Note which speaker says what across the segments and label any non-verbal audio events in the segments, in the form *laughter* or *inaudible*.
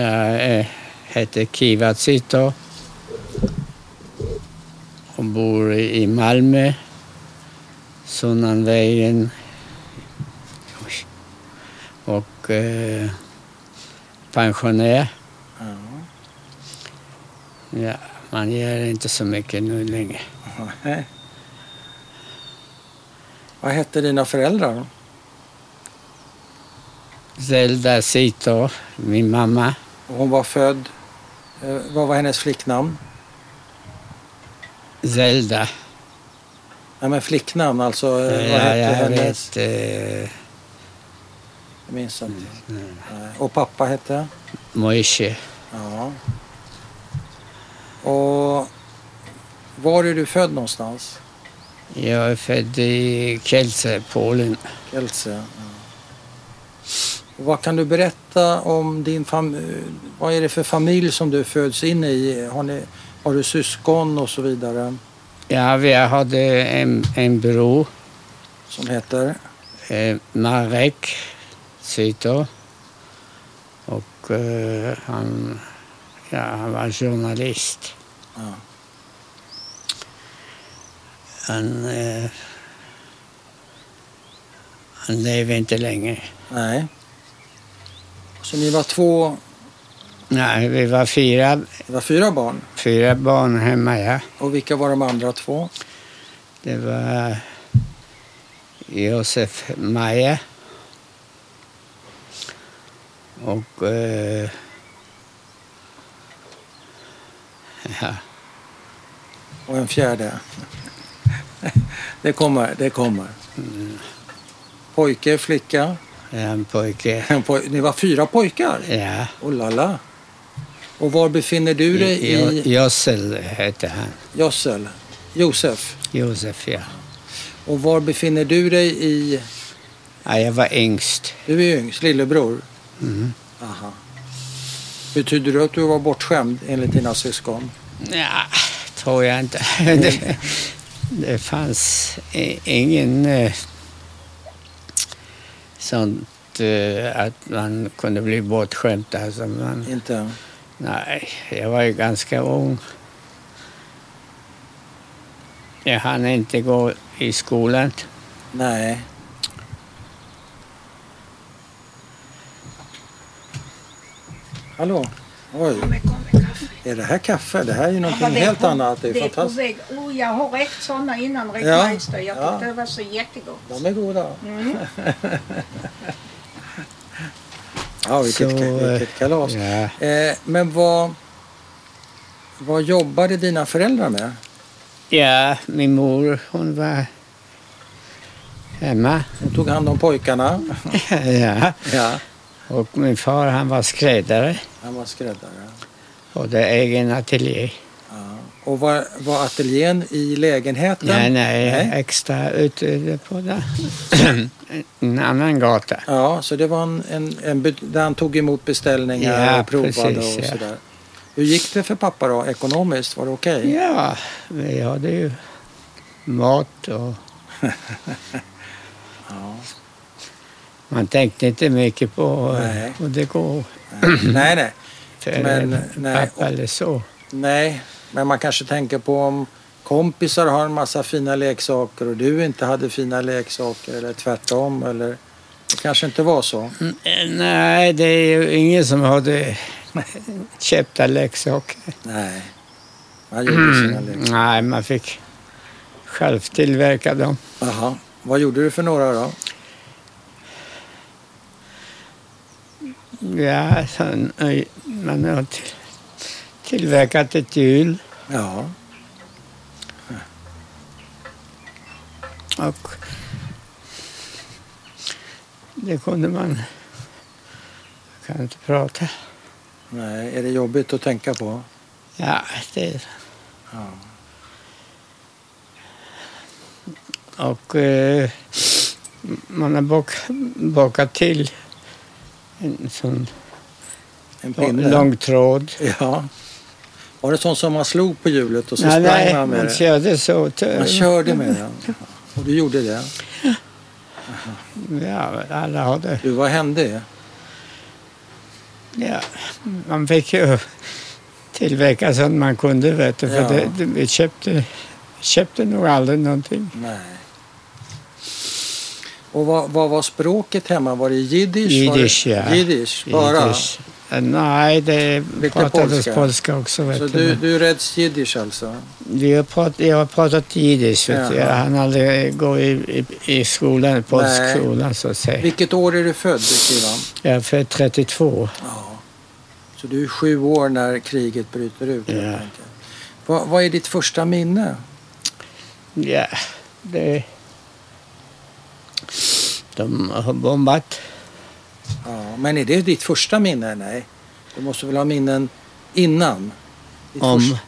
Speaker 1: Jag eh, heter Kiva Zito och bor i Malmö, Sunnanvägen. Oj. Och eh, pensionär. Ja, man gör inte så mycket nu längre.
Speaker 2: Nej. *laughs* Vad hette dina föräldrar? då?
Speaker 1: Zelda Zito, min mamma.
Speaker 2: Hon var född... eh, Vad var hennes flicknamn?
Speaker 1: Zelda.
Speaker 2: Nej, men flicknamn alltså. eh, Vad
Speaker 1: Ja,
Speaker 2: hette
Speaker 1: jag vet.
Speaker 2: hennes?
Speaker 1: Eh,
Speaker 2: Jag minns inte. Nej. Och pappa hette?
Speaker 1: Moishe.
Speaker 2: Ja. Och var är du född någonstans?
Speaker 1: Jag är född i Kielce, Polen.
Speaker 2: Else? Ja. Vad kan du berätta om din familj? Vad är det för familj som du föds in i? Har, ni, har du syskon och så vidare?
Speaker 1: Ja, vi hade en, en bror,
Speaker 2: Som heter?
Speaker 1: eh, Marek Zito. Och eh, han, ja, han var journalist.
Speaker 2: Ja.
Speaker 1: Han, eh, han levde inte länge.
Speaker 2: Nej. Så ni var två,
Speaker 1: Nej, vi var fyra,
Speaker 2: det var fyra barn.
Speaker 1: fyra barn hemma, ja.
Speaker 2: Och vilka var de andra två?
Speaker 1: Det var Josef Maja och eh, ja,
Speaker 2: Och en fjärde. *laughs* Det kommer, det kommer. Pojke, flicka.
Speaker 1: en pojke.
Speaker 2: En poj- ni var fyra pojkar?
Speaker 1: Ja.
Speaker 2: Oh la la. Och var befinner du dig
Speaker 1: Jo-
Speaker 2: i
Speaker 1: Jossel hette han.
Speaker 2: Jossel? Josef.
Speaker 1: Josef, ja.
Speaker 2: Och var befinner du dig i...
Speaker 1: ja. Jag var yngst.
Speaker 2: Du är yngst, lillebror.
Speaker 1: Mm.
Speaker 2: Aha. Betyder det att du var bortskämd enligt dina syskon?
Speaker 1: Ja, tror jag inte. *laughs* Det, det fanns i- ingen eh, sånt eh, att man kunde bli bortskämd. Alltså man,
Speaker 2: Inte?
Speaker 1: nej, jag var ju ganska ung. Jag hann inte gå i skolan.
Speaker 2: Nej. Hallå? Oj,
Speaker 3: Kommer, kommer kaffe.
Speaker 2: är det här kaffe? Det här är ju
Speaker 3: Ja,
Speaker 2: någonting
Speaker 3: det är
Speaker 2: helt
Speaker 3: på-
Speaker 2: annat. Det är
Speaker 3: på
Speaker 2: fantastiskt.
Speaker 3: väg. Oh, jag har ätit sådana innan,
Speaker 2: Ja,
Speaker 3: Rickmeister. Jag
Speaker 2: ja.
Speaker 3: tyckte det var så jättegott.
Speaker 2: De är goda. *laughs* ja, vilket,
Speaker 1: Så, eh,
Speaker 2: vilket kalas.
Speaker 1: Ja.
Speaker 2: Eh, men vad, vad jobbade dina föräldrar med?
Speaker 1: ja, min mor hon var hemma. *laughs*
Speaker 2: De tog hand om pojkarna.
Speaker 1: Ja.
Speaker 2: Ja.
Speaker 1: Och min far han var skräddare.
Speaker 2: Han var skräddare.
Speaker 1: Hade egen ateljé.
Speaker 2: Ja. Och var, var ateljén i lägenheten?
Speaker 1: Nej, nej,
Speaker 2: Nej.
Speaker 1: extra ute på den. *clears throat* en annan gata.
Speaker 2: Ja, så det var en, en, en be- där han tog emot beställningar
Speaker 1: Ja,
Speaker 2: och provade
Speaker 1: precis,
Speaker 2: och
Speaker 1: ja.
Speaker 2: sådär. Hur gick det för pappa då ekonomiskt? Var det okej?
Speaker 1: Ja, vi hade ju mat
Speaker 2: *laughs*
Speaker 1: och... Man tänkte inte mycket på
Speaker 2: Nej.
Speaker 1: eh, och det går
Speaker 2: Nej, nej,
Speaker 1: för
Speaker 2: Men,
Speaker 1: eh,
Speaker 2: nej,
Speaker 1: pappa eller så.
Speaker 2: nej. Men man kanske tänker på om kompisar har en massa fina leksaker och du inte hade fina leksaker eller tvärtom eller det kanske inte var så.
Speaker 1: Eh, Nej, det är ju ingen som
Speaker 2: *laughs*
Speaker 1: hade köpta leksaker.
Speaker 2: Nej, man gjorde *clears throat* sina
Speaker 1: Mm.
Speaker 2: leksaker.
Speaker 1: Nej, man fick själv tillverka dem.
Speaker 2: Aha. Vad gjorde du för några då?
Speaker 1: Ja, sen, eh, man har till- tillverkat ett hjul
Speaker 2: Ja,
Speaker 1: och det kunde man... Jag kan inte prata.
Speaker 2: nej, är det jobbigt att tänka på?
Speaker 1: Ja, det...
Speaker 2: Ja.
Speaker 1: Och eh, man har bak, bakat till en sån
Speaker 2: En pinne?
Speaker 1: långtråd.
Speaker 2: Ja. Var det sånt som man slog på hjulet och så
Speaker 1: Nej,
Speaker 2: sprang
Speaker 1: nej,
Speaker 2: man med
Speaker 1: man
Speaker 2: det?
Speaker 1: körde så. t-
Speaker 2: Man körde med den. Och du gjorde det.
Speaker 1: Ja, alla hade...
Speaker 2: Du, vad hände?
Speaker 1: Ja, man fick ju tillverka så att man kunde, vet du, för
Speaker 2: Ja.
Speaker 1: det, det, vi köpte, köpte nog aldrig någonting.
Speaker 2: Nej. Och vad, vad var språket hemma? Var det jiddisch?
Speaker 1: Jiddisch,
Speaker 2: var det,
Speaker 1: ja.
Speaker 2: Jiddisch, bara?
Speaker 1: Jiddisch. Eh, Nej, det
Speaker 2: Lite
Speaker 1: pratades
Speaker 2: polska.
Speaker 1: polska, också. Vet
Speaker 2: Så
Speaker 1: du.
Speaker 2: du, du räds jiddisch alltså?
Speaker 1: Vi har prat, jag har pratat jiddisch. Vet du.
Speaker 2: Jaha.
Speaker 1: Jag hann aldrig gå i, i, i skolan, polskskolan så att säga.
Speaker 2: Vilket år är du född, Ivan?
Speaker 1: Jag är född 32.
Speaker 2: Ja. Så du är sju år när kriget bryter ut? helt
Speaker 1: Ja.
Speaker 2: enkelt. Vad, vad är ditt första minne?
Speaker 1: Ja, det... De har bombat.
Speaker 2: Ja, men är det ditt första minne? Nej. Du måste väl ha minnen innan? Ditt
Speaker 1: Om-
Speaker 2: första-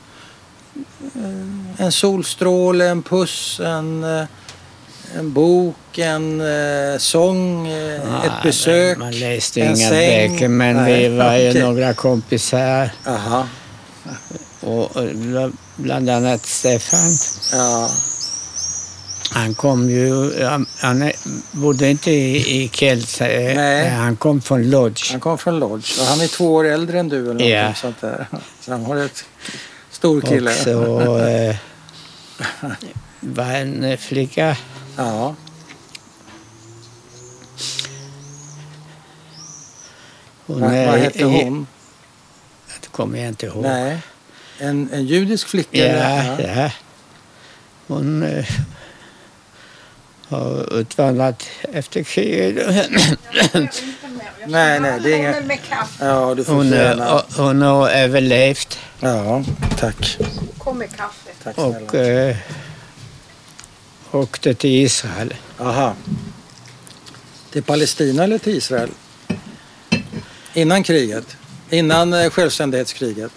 Speaker 2: En solstråle, en puss, en, eh, en bok, en eh, sång, eh,
Speaker 1: Ja,
Speaker 2: ett besök,
Speaker 1: Ah, Man läste
Speaker 2: en
Speaker 1: inga
Speaker 2: säng.
Speaker 1: böcker, men
Speaker 2: Nej,
Speaker 1: vi var ju
Speaker 2: okej.
Speaker 1: några kompisar.
Speaker 2: Aha,
Speaker 1: Och och bla- bland annat Stefan.
Speaker 2: ja.
Speaker 1: Han kom ju... Han, han är- bodde inte i, i Kells. eh,
Speaker 2: Nej.
Speaker 1: Han kom från Lodz.
Speaker 2: Han kom från Lodge och han är två år äldre än du eller något
Speaker 1: Ja.
Speaker 2: sånt där. *laughs* Så han har ett stor kille.
Speaker 1: Och så
Speaker 2: *laughs*
Speaker 1: eh, var en eh, flicka
Speaker 2: Ja,
Speaker 1: Hon
Speaker 2: vad,
Speaker 1: är-
Speaker 2: vad hette
Speaker 1: är-
Speaker 2: hon?
Speaker 1: Det kommer jag inte ihåg.
Speaker 2: Nej. En, en judisk flicka?
Speaker 1: Ja,
Speaker 2: eller?
Speaker 1: ja. Hon eh, har utvandrat efter kriget. *clears throat*
Speaker 3: Jag behöver inte mer. Jag
Speaker 2: Nej, nej,
Speaker 3: ska
Speaker 2: det är
Speaker 3: ha
Speaker 2: inga-
Speaker 3: en med kaffe.
Speaker 2: ja, du får
Speaker 1: Hon, eh,
Speaker 2: gärna.
Speaker 1: hon har överlevt
Speaker 2: Ja, tack.
Speaker 3: Kom med kaffe.
Speaker 2: Tack
Speaker 1: och
Speaker 2: snälla.
Speaker 1: eh, åkte till Israel.
Speaker 2: Aha. Till Palestina eller till Israel? Innan kriget? Innan eh, självständighetskriget?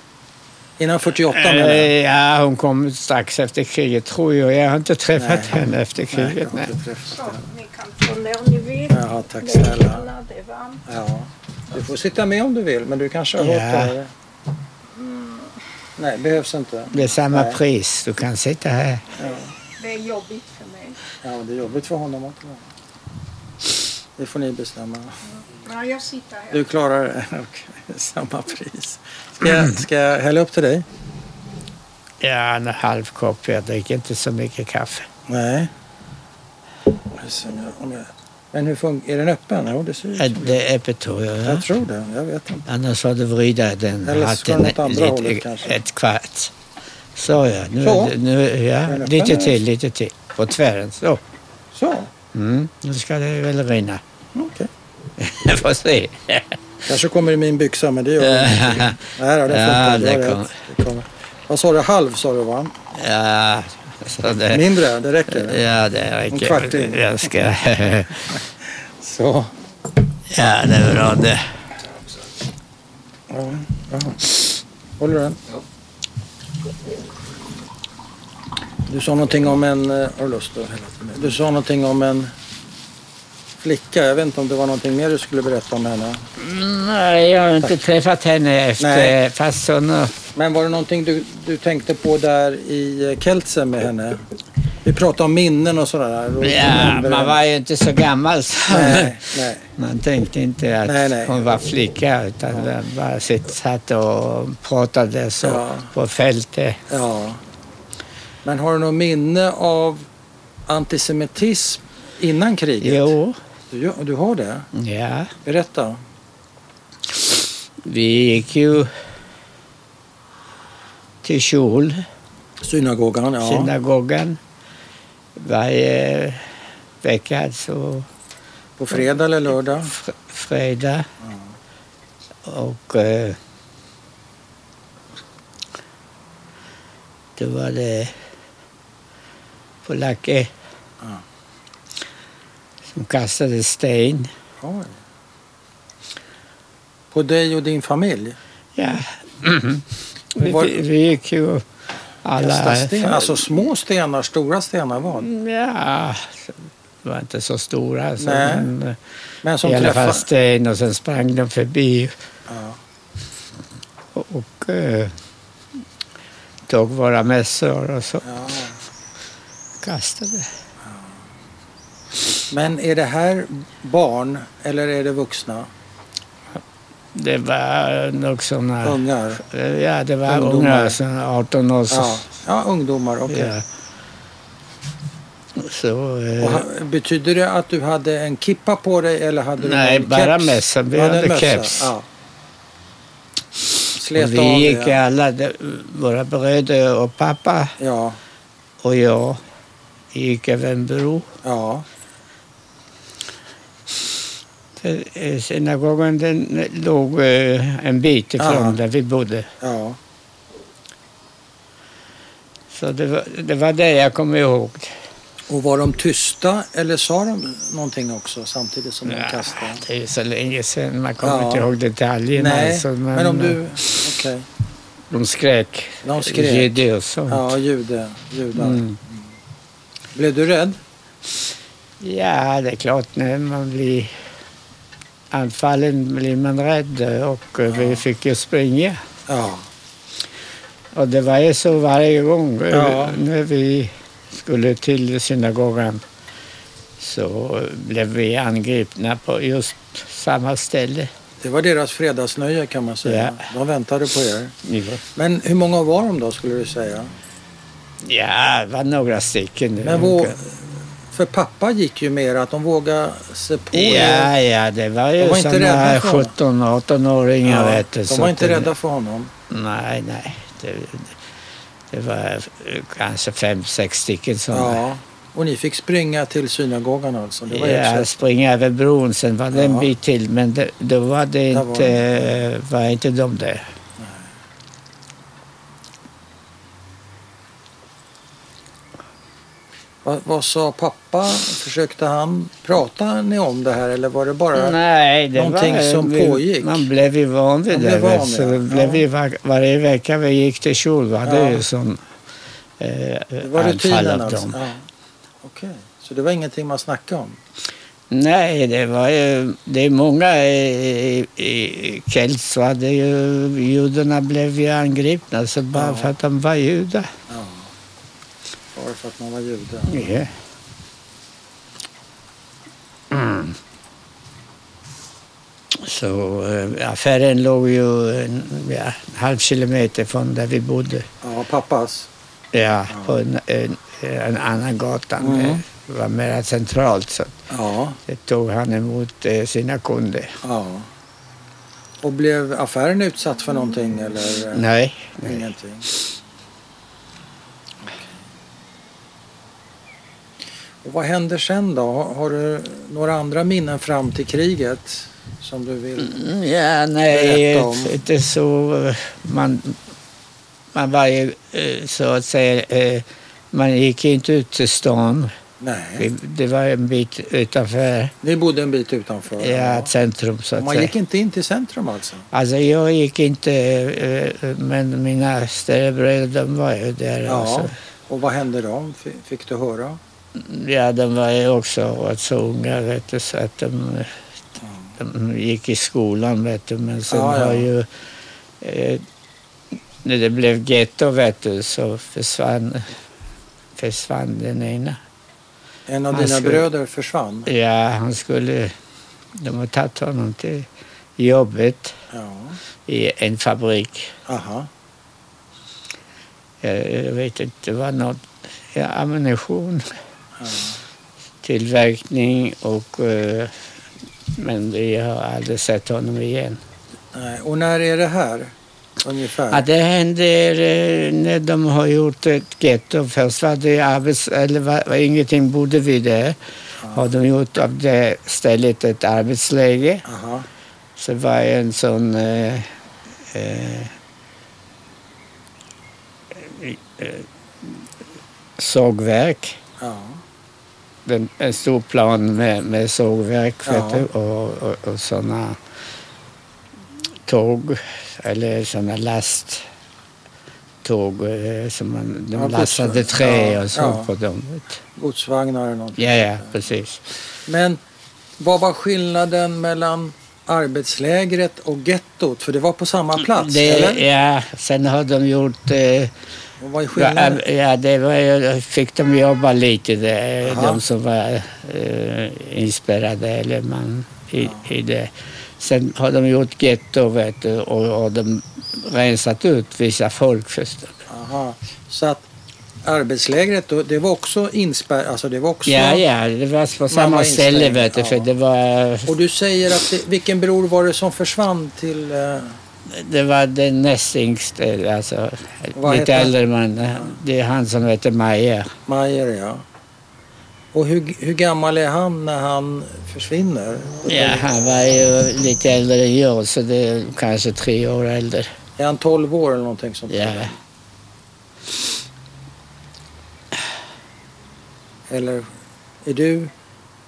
Speaker 2: Innan 48 menar
Speaker 1: Eh,
Speaker 2: jag.
Speaker 1: ja, hon kom strax efter kriget tror jag. Jag har inte träffat henne efter
Speaker 2: Nej, jag
Speaker 1: kriget.
Speaker 2: har
Speaker 1: Nej,
Speaker 2: inte träffat
Speaker 3: Så,
Speaker 2: henne.
Speaker 3: ni kan få när ni vill.
Speaker 2: Ja, tack
Speaker 3: Det är
Speaker 2: snälla.
Speaker 3: kalla, Det är varmt.
Speaker 2: Ja. Du får sitta med om du vill, men du kanske har hört
Speaker 1: Ja.
Speaker 2: det här? Nej, behövs inte.
Speaker 1: Det är samma
Speaker 2: Nej.
Speaker 1: pris. Du kan sitta här.
Speaker 3: Det är jobbigt för mig.
Speaker 2: Ja, men det är jobbigt för honom att vara. Det får ni bestämma.
Speaker 3: Ja, jag sitter här.
Speaker 2: Du klarar det. *laughs* Okej, samma pris. Ska jag, ska jag hälla upp till dig?
Speaker 1: Ja, en halv kopp. Jag dricker inte så mycket kaffe.
Speaker 2: Nej. Jag ser om jag- om jag- Men hur funkar Är den öppen? Jo, det ser ut
Speaker 1: Eh,
Speaker 2: som det.
Speaker 1: Det är öppet tror jag. ja.
Speaker 2: Jag tror det. Jag vet inte.
Speaker 1: Annars hade vrida den
Speaker 2: Eller så
Speaker 1: hatten
Speaker 2: åt andra
Speaker 1: lite-
Speaker 2: hållet kanske.
Speaker 1: ett kvart. Så ja, nu,
Speaker 2: Så.
Speaker 1: nu ja,
Speaker 2: Eller
Speaker 1: lite
Speaker 2: fem.
Speaker 1: till, lite till. På tvären, så.
Speaker 2: Så,
Speaker 1: Mm, nu ska det väl rinna.
Speaker 2: okej.
Speaker 1: Jag *laughs* får se.
Speaker 2: Kanske kommer i min byxa, men det gör det
Speaker 1: *laughs*
Speaker 2: inte.
Speaker 1: ja,
Speaker 2: Nej då, det
Speaker 1: Ja,
Speaker 2: funkar. Du har
Speaker 1: det
Speaker 2: rätt.
Speaker 1: kommer.
Speaker 2: Det kommer. Vad sa du? Halv sa du, va?
Speaker 1: så det,
Speaker 2: Mindre? Det räcker?
Speaker 1: Eh. ja, det
Speaker 2: En kvart
Speaker 1: räcker.
Speaker 2: in.
Speaker 1: Jag ska, *laughs*
Speaker 2: Så.
Speaker 1: ja, det är bra det.
Speaker 2: Ja, jaha. Håller du den? Du sa någonting om en... eh, Har du lust att hälla till mig? Du sa någonting om en flicka. Jag vet inte om det var någonting mer du skulle berätta om henne.
Speaker 1: Mm, Nej, jag har inte träffat henne efter,
Speaker 2: Nej.
Speaker 1: fast hon...
Speaker 2: Men var det någonting du, du tänkte på där i eh, Keltsen med henne? Vi pratade om minnen och sådär. Och
Speaker 1: Ja, man var ju inte så gammal så
Speaker 2: Nej, nej.
Speaker 1: *laughs* Man tänkte inte att
Speaker 2: Nej, nej.
Speaker 1: hon var flicka utan ja. bara sitt- satt och pratade så
Speaker 2: Ja.
Speaker 1: på fältet.
Speaker 2: Ja. Men har du något minne av antisemitism innan kriget?
Speaker 1: Jo,
Speaker 2: Du, du har det?
Speaker 1: ja.
Speaker 2: Berätta.
Speaker 1: Vi gick ju till kjol,
Speaker 2: Synagogan, ja.
Speaker 1: synagogan. Varje vecka, alltså
Speaker 2: På fredag eller lördag?
Speaker 1: fr- fredag. Och eh, då var det polacker
Speaker 2: Ja.
Speaker 1: som kastade sten.
Speaker 2: Oj. På dig och din familj?
Speaker 1: Ja. vi,
Speaker 2: Mm-hmm. Var-
Speaker 1: vi gick ju alla... Mm,
Speaker 2: Kasta sten. Alltså små stenar, stora stenar vad?
Speaker 1: Ja, de var inte så stora. Alltså,
Speaker 2: Nej.
Speaker 1: men, eh,
Speaker 2: Men som
Speaker 1: I alla
Speaker 2: träffar...
Speaker 1: fall sten och sen sprang de förbi.
Speaker 2: Ja.
Speaker 1: och eh, tog våra mössor och så
Speaker 2: Ja.
Speaker 1: kastade.
Speaker 2: Men är det här barn eller är det vuxna?
Speaker 1: Det var nog såna...
Speaker 2: Ungar?
Speaker 1: Ja, det var
Speaker 2: Ungdomar.
Speaker 1: unga, såna 18 år.
Speaker 2: Ja,
Speaker 1: Så,
Speaker 2: ja ungdomar. okej.
Speaker 1: ja. så eh,
Speaker 2: Och ha- betyder det att du hade en kippa på dig eller hade du
Speaker 1: Nej,
Speaker 2: någon
Speaker 1: bara
Speaker 2: keps?
Speaker 1: mössa. Vi
Speaker 2: Du en
Speaker 1: hade
Speaker 2: mössa,
Speaker 1: keps.
Speaker 2: Ja. Slet av
Speaker 1: vi gick
Speaker 2: det.
Speaker 1: alla, de- våra bröder och pappa
Speaker 2: Ja,
Speaker 1: och jag gick över en bro
Speaker 2: ja.
Speaker 1: till eh, synagogan. Den låg eh, en bit ifrån
Speaker 2: Aha.
Speaker 1: där vi bodde.
Speaker 2: ja.
Speaker 1: Så det var, det var det jag kommer ihåg.
Speaker 2: Och var de tysta eller sa de någonting också samtidigt som de
Speaker 1: Ja,
Speaker 2: kastade?
Speaker 1: Det är ju så länge sedan, man kommer
Speaker 2: Ja.
Speaker 1: inte ihåg detaljerna.
Speaker 2: Nej,
Speaker 1: alltså,
Speaker 2: men, om du... Okej.
Speaker 1: De skrek.
Speaker 2: De skrek.
Speaker 1: Jidde och sånt.
Speaker 2: Ja, jude, judar.
Speaker 1: Mm.
Speaker 2: Blev du rädd?
Speaker 1: Ja, det är klart, när man blir anfallen blir man rädd och eh, vi fick ju springa.
Speaker 2: Ja.
Speaker 1: Och det var ju så varje gång eh,
Speaker 2: Ja.
Speaker 1: när vi skulle till synagogan så eh, blev vi angripna på just samma ställe.
Speaker 2: Det var deras fredagsnöje kan man säga. De väntade på er. Men hur många var de då skulle du säga?
Speaker 1: Ja, det var några stycken.
Speaker 2: Men vå... För pappa gick ju mer att de vågade sig på er.
Speaker 1: Ja, ja, det var
Speaker 2: De
Speaker 1: ju
Speaker 2: var inte rädda
Speaker 1: sådana
Speaker 2: för honom.
Speaker 1: 17-18-åringar. vet du,
Speaker 2: de
Speaker 1: så
Speaker 2: var
Speaker 1: att
Speaker 2: inte
Speaker 1: det-
Speaker 2: rädda för honom.
Speaker 1: Nej, nej. Det, det var eh, kanske fem, sex stycken som...
Speaker 2: Ja. Och ni fick springa till synagogan alltså? Det var ert
Speaker 1: Ja,
Speaker 2: sätt.
Speaker 1: springa över bron, sen var det en
Speaker 2: Ja.
Speaker 1: bit till, men det, då var det
Speaker 2: Där var
Speaker 1: inte, var inte de där.
Speaker 2: Vad, vad sa pappa? Försökte han... Prata ni om det här eller var det bara...
Speaker 1: Nej, det
Speaker 2: någonting
Speaker 1: var,
Speaker 2: som
Speaker 1: vi,
Speaker 2: pågick.
Speaker 1: Man blev ju van vid
Speaker 2: Man
Speaker 1: det.
Speaker 2: blev
Speaker 1: vet
Speaker 2: van
Speaker 1: du, så
Speaker 2: vid det,
Speaker 1: det blev
Speaker 2: ja.
Speaker 1: ju var, varje vecka vi gick till kjol var det
Speaker 2: Ja.
Speaker 1: ju som eh,
Speaker 2: Det var
Speaker 1: anfall av
Speaker 2: rutinen
Speaker 1: dem.
Speaker 2: alltså? Ja. Okej. Så det var ingenting man snackade om?
Speaker 1: Nej, det var ju, det är många i, i, i Kelts, va? Det är ju, judarna blev ju angripna så bara
Speaker 2: Ja.
Speaker 1: för att de var judar.
Speaker 2: Ja. Bara för att man var jude?
Speaker 1: Ja. Mm. Så eh, affären låg ju en ja, en halv kilometer från där vi bodde.
Speaker 2: Ja, pappas.
Speaker 1: Ja, på en, en, en annan gatan.
Speaker 2: Mm.
Speaker 1: Det var mer centralt så
Speaker 2: Ja.
Speaker 1: det tog han emot eh, sina kunder.
Speaker 2: ja. Och blev affären utsatt för någonting eller? eh,
Speaker 1: Nej, nej.
Speaker 2: Ingenting. Okej. Och vad händer sen då? Har, har du några andra minnen fram till kriget som du vill?
Speaker 1: Mm, Ja, nej,
Speaker 2: Berätta om.
Speaker 1: inte så. eh, Man, man var ju eh, så att säga, eh, man gick inte ut till stan.
Speaker 2: Nej.
Speaker 1: Vi- Det var en bit utanför
Speaker 2: Ni bodde en bit utanför?
Speaker 1: ja, centrum så
Speaker 2: Och
Speaker 1: att
Speaker 2: Man
Speaker 1: säga.
Speaker 2: gick inte in till centrum alltså?
Speaker 1: Alltså jag gick inte, eh, men mina större bröder de var ju där. alltså.
Speaker 2: Ja.
Speaker 1: Också.
Speaker 2: Och vad hände då? F- Fick du höra?
Speaker 1: Ja, de var ju också rätt så unga vet du, så att de, de gick i skolan vet du, men sen
Speaker 2: Ja, ja.
Speaker 1: har ju eh, när det blev ghetto vet du så försvann, försvann den ena.
Speaker 2: En av
Speaker 1: Han
Speaker 2: dina
Speaker 1: skulle-
Speaker 2: bröder försvann?
Speaker 1: Ja, han skulle, de har tagit honom till jobbet
Speaker 2: Ja.
Speaker 1: i en fabrik.
Speaker 2: Aha.
Speaker 1: Jag, jag vet inte, det var något, ja, ammunition,
Speaker 2: Ja.
Speaker 1: tillverkning och eh, men vi har aldrig sett honom igen.
Speaker 2: Nej. Och när är det här? Ungefär?
Speaker 1: Ja, det händer eh, när de har gjort ett getto. Först var det arbets... Eller var, var ingenting bodde vi där. Har de gjort av det stället ett arbetsläge.
Speaker 2: Aha.
Speaker 1: Så var det en sån... Eh, eh, eh, sågverk.
Speaker 2: Ja.
Speaker 1: den, en stor plan med, med sågverk
Speaker 2: Ja.
Speaker 1: vet du, och, och, och sådana tåg eller sådana lasttåg eh, som man, de
Speaker 2: Ja,
Speaker 1: lastade
Speaker 2: bussar.
Speaker 1: trä
Speaker 2: Ja,
Speaker 1: och sånt
Speaker 2: ja.
Speaker 1: på dem. vet
Speaker 2: Godsvagnar eller någonting?
Speaker 1: du. Ja, ja, precis.
Speaker 2: Men vad var skillnaden mellan arbetslägret och gettot? För det var på samma plats, eller?
Speaker 1: Mm, Det, ja, sen har de gjort... Eh,
Speaker 2: Och Vad är
Speaker 1: ja,
Speaker 2: skillnaden?
Speaker 1: ja, det var, ju- fick de jobba lite där,
Speaker 2: Jaha.
Speaker 1: de som var eh, inspärrade eller man i, i det. Sen har de gjort getto vet du, och, och de rensat ut vissa folk. Förstå.
Speaker 2: Aha. Så att arbetslägret, då, det var också inspärrat? Alltså det var också...
Speaker 1: Ja, ja, det var på samma
Speaker 2: var
Speaker 1: ställe
Speaker 2: instängd,
Speaker 1: vet du, för
Speaker 2: ja.
Speaker 1: det var,
Speaker 2: Och du säger att det, vilken bror var det som försvann till... eh,
Speaker 1: det var den näst yngste, alltså
Speaker 2: Vad
Speaker 1: lite
Speaker 2: heter han?
Speaker 1: äldre man. Det är han som heter Maja.
Speaker 2: Majer, ja. Och hur, hur gammal är han när han försvinner?
Speaker 1: Ja, han var ju lite äldre än jag, så det är kanske tre år äldre.
Speaker 2: Är han 12 år eller någonting sånt?
Speaker 1: Ja.
Speaker 2: Eller är du...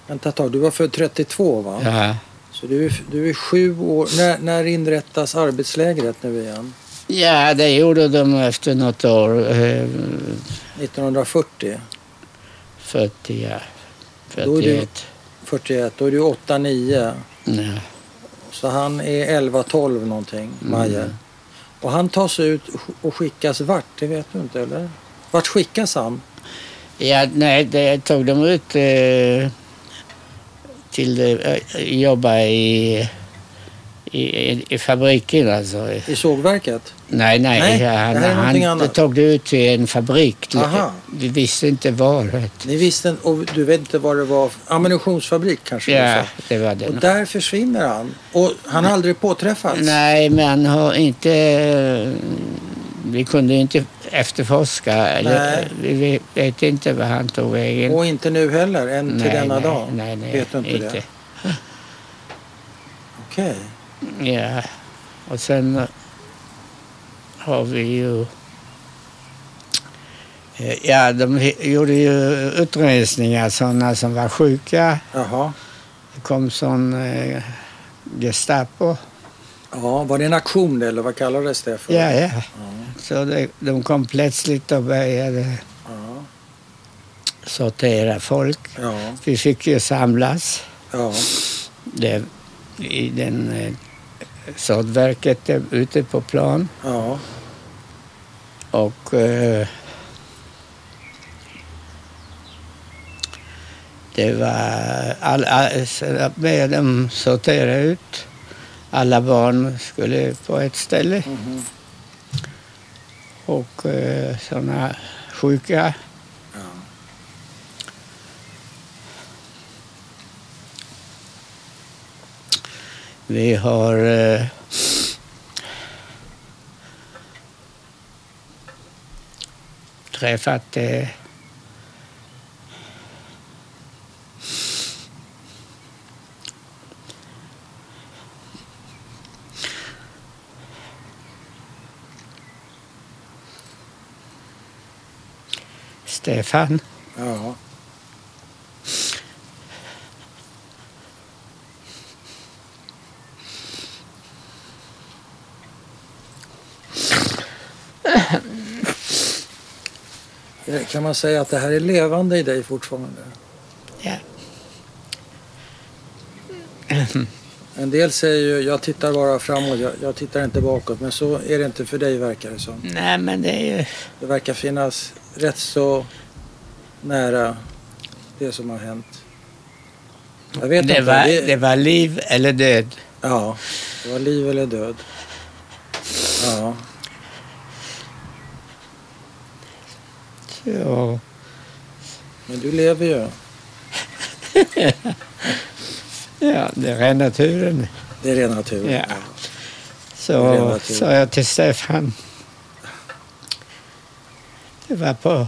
Speaker 2: Vänta ett tag, du var född 32 va?
Speaker 1: Ja.
Speaker 2: Så du, är- du är sju år. När, när inrättas arbetslägret nu igen?
Speaker 1: ja, det gjorde de efter något år. eh,
Speaker 2: 1940?
Speaker 1: 40, ja.
Speaker 2: Då är du-
Speaker 1: 41.
Speaker 2: 41, då är du 8-9.
Speaker 1: Ja.
Speaker 2: Så han är 11-12 någonting,
Speaker 1: Mm.
Speaker 2: Majer. Och han tas ut och skickas vart? Det vet du inte eller? Vart skickas han?
Speaker 1: ja, nej, det tog de ut eh, till eh, jobba i, i, i fabriken alltså.
Speaker 2: I sågverket?
Speaker 1: Nej, nej,
Speaker 2: Nej, det här
Speaker 1: han,
Speaker 2: är någonting
Speaker 1: han
Speaker 2: annat.
Speaker 1: tog det ut till en fabrik.
Speaker 2: Aha.
Speaker 1: Vi visste inte var. vet du.
Speaker 2: Ni visste, och du vet inte vad det var, ammunitionsfabrik kanske? du
Speaker 1: Ja, det var
Speaker 2: sa.
Speaker 1: det.
Speaker 2: Och där försvinner han. Och han har aldrig påträffats?
Speaker 1: Nej, men han har inte... eh, Vi kunde ju inte efterforska. Eller,
Speaker 2: Nej.
Speaker 1: vi vet inte vad han tog vägen.
Speaker 2: Och inte nu heller, än till denna
Speaker 1: nej,
Speaker 2: dag?
Speaker 1: Nej, nej,
Speaker 2: vet du inte, det? Okej.
Speaker 1: Ja. Och sen eh, har vi ju... eh, Ja, de he- gjorde ju utrensningar, sådana som var sjuka.
Speaker 2: Jaha.
Speaker 1: Det kom sån eh, Gestapo.
Speaker 2: Ja, var det en aktion eller vad kallades det för?
Speaker 1: Ja, ja. Så det, de kom plötsligt och började
Speaker 2: Ja.
Speaker 1: sortera folk.
Speaker 2: Ja.
Speaker 1: Vi fick ju samlas
Speaker 2: ja.
Speaker 1: där i den eh, sågverket där ute på plan
Speaker 2: ja.
Speaker 1: och eh, det var all, all, så med dem sortera ut. Alla barn skulle på ett ställe
Speaker 2: Mhm.
Speaker 1: och eh, sådana sjuka.
Speaker 2: ja.
Speaker 1: Vi har eh, träffat eh, Stefan.
Speaker 2: Ja. Eh, Kan man säga att det här är levande i dig fortfarande?
Speaker 1: Ja.
Speaker 2: En del säger ju jag tittar bara framåt, jag, jag tittar inte bakåt. Men så är det inte för dig verkar det som.
Speaker 1: Nej, men det är ju...
Speaker 2: Det verkar finnas rätt så nära det som har hänt. Jag vet
Speaker 1: Det
Speaker 2: inte.
Speaker 1: var,
Speaker 2: det-
Speaker 1: det var liv eller död.
Speaker 2: Ja, det var liv eller död. Ja,
Speaker 1: Så,
Speaker 2: men du lever ju.
Speaker 1: ja, det är naturen.
Speaker 2: Det är rena turen.
Speaker 1: Ja.
Speaker 2: Det är
Speaker 1: Så
Speaker 2: relativt.
Speaker 1: sa jag till Stefan. Det var på...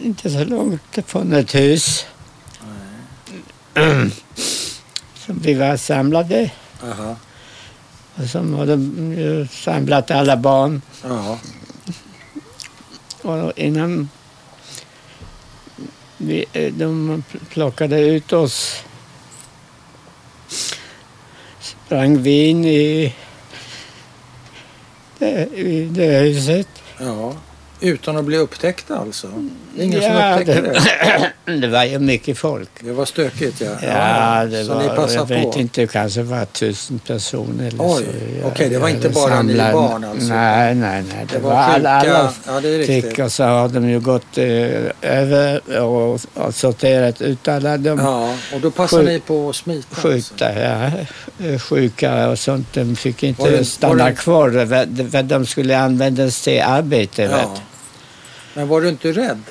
Speaker 1: Inte så långt från ett hus. Som vi var samlade.
Speaker 2: Aha.
Speaker 1: Och som hade ju samlat alla barn.
Speaker 2: Ja.
Speaker 1: Och innan vi, eh, de plockade ut oss sprang vi in i det, i det huset
Speaker 2: Ja. Utan att bli upptäckta alltså? Det är ingen som
Speaker 1: ja, *laughs*
Speaker 2: upptäcker det.
Speaker 1: det, *coughs* det var ju mycket folk.
Speaker 2: Det var stökigt ja.
Speaker 1: Ja, det
Speaker 2: så
Speaker 1: var,
Speaker 2: ni
Speaker 1: jag
Speaker 2: passade på?
Speaker 1: vet inte, det kanske var tusen personer eller
Speaker 2: Oj,
Speaker 1: så. Ja,
Speaker 2: okej, det var
Speaker 1: ja,
Speaker 2: inte bara ni
Speaker 1: samlade-
Speaker 2: barn alltså?
Speaker 1: Nej, nej, nej. Det,
Speaker 2: Det
Speaker 1: var,
Speaker 2: var
Speaker 1: alla, alla
Speaker 2: sjuka- ja, det är riktigt.
Speaker 1: fick och så har de ju gått eh, över och, och sorterat ut alla de
Speaker 2: Ja, och då passade
Speaker 1: Sjuk-
Speaker 2: ni på att smita? alltså.
Speaker 1: sjuka, ja, eh, sjuka och sånt. De fick inte
Speaker 2: Var det- var
Speaker 1: stanna
Speaker 2: det-
Speaker 1: kvar, för- för de skulle användas till arbete. Vet.
Speaker 2: Ja. Men var du inte rädd?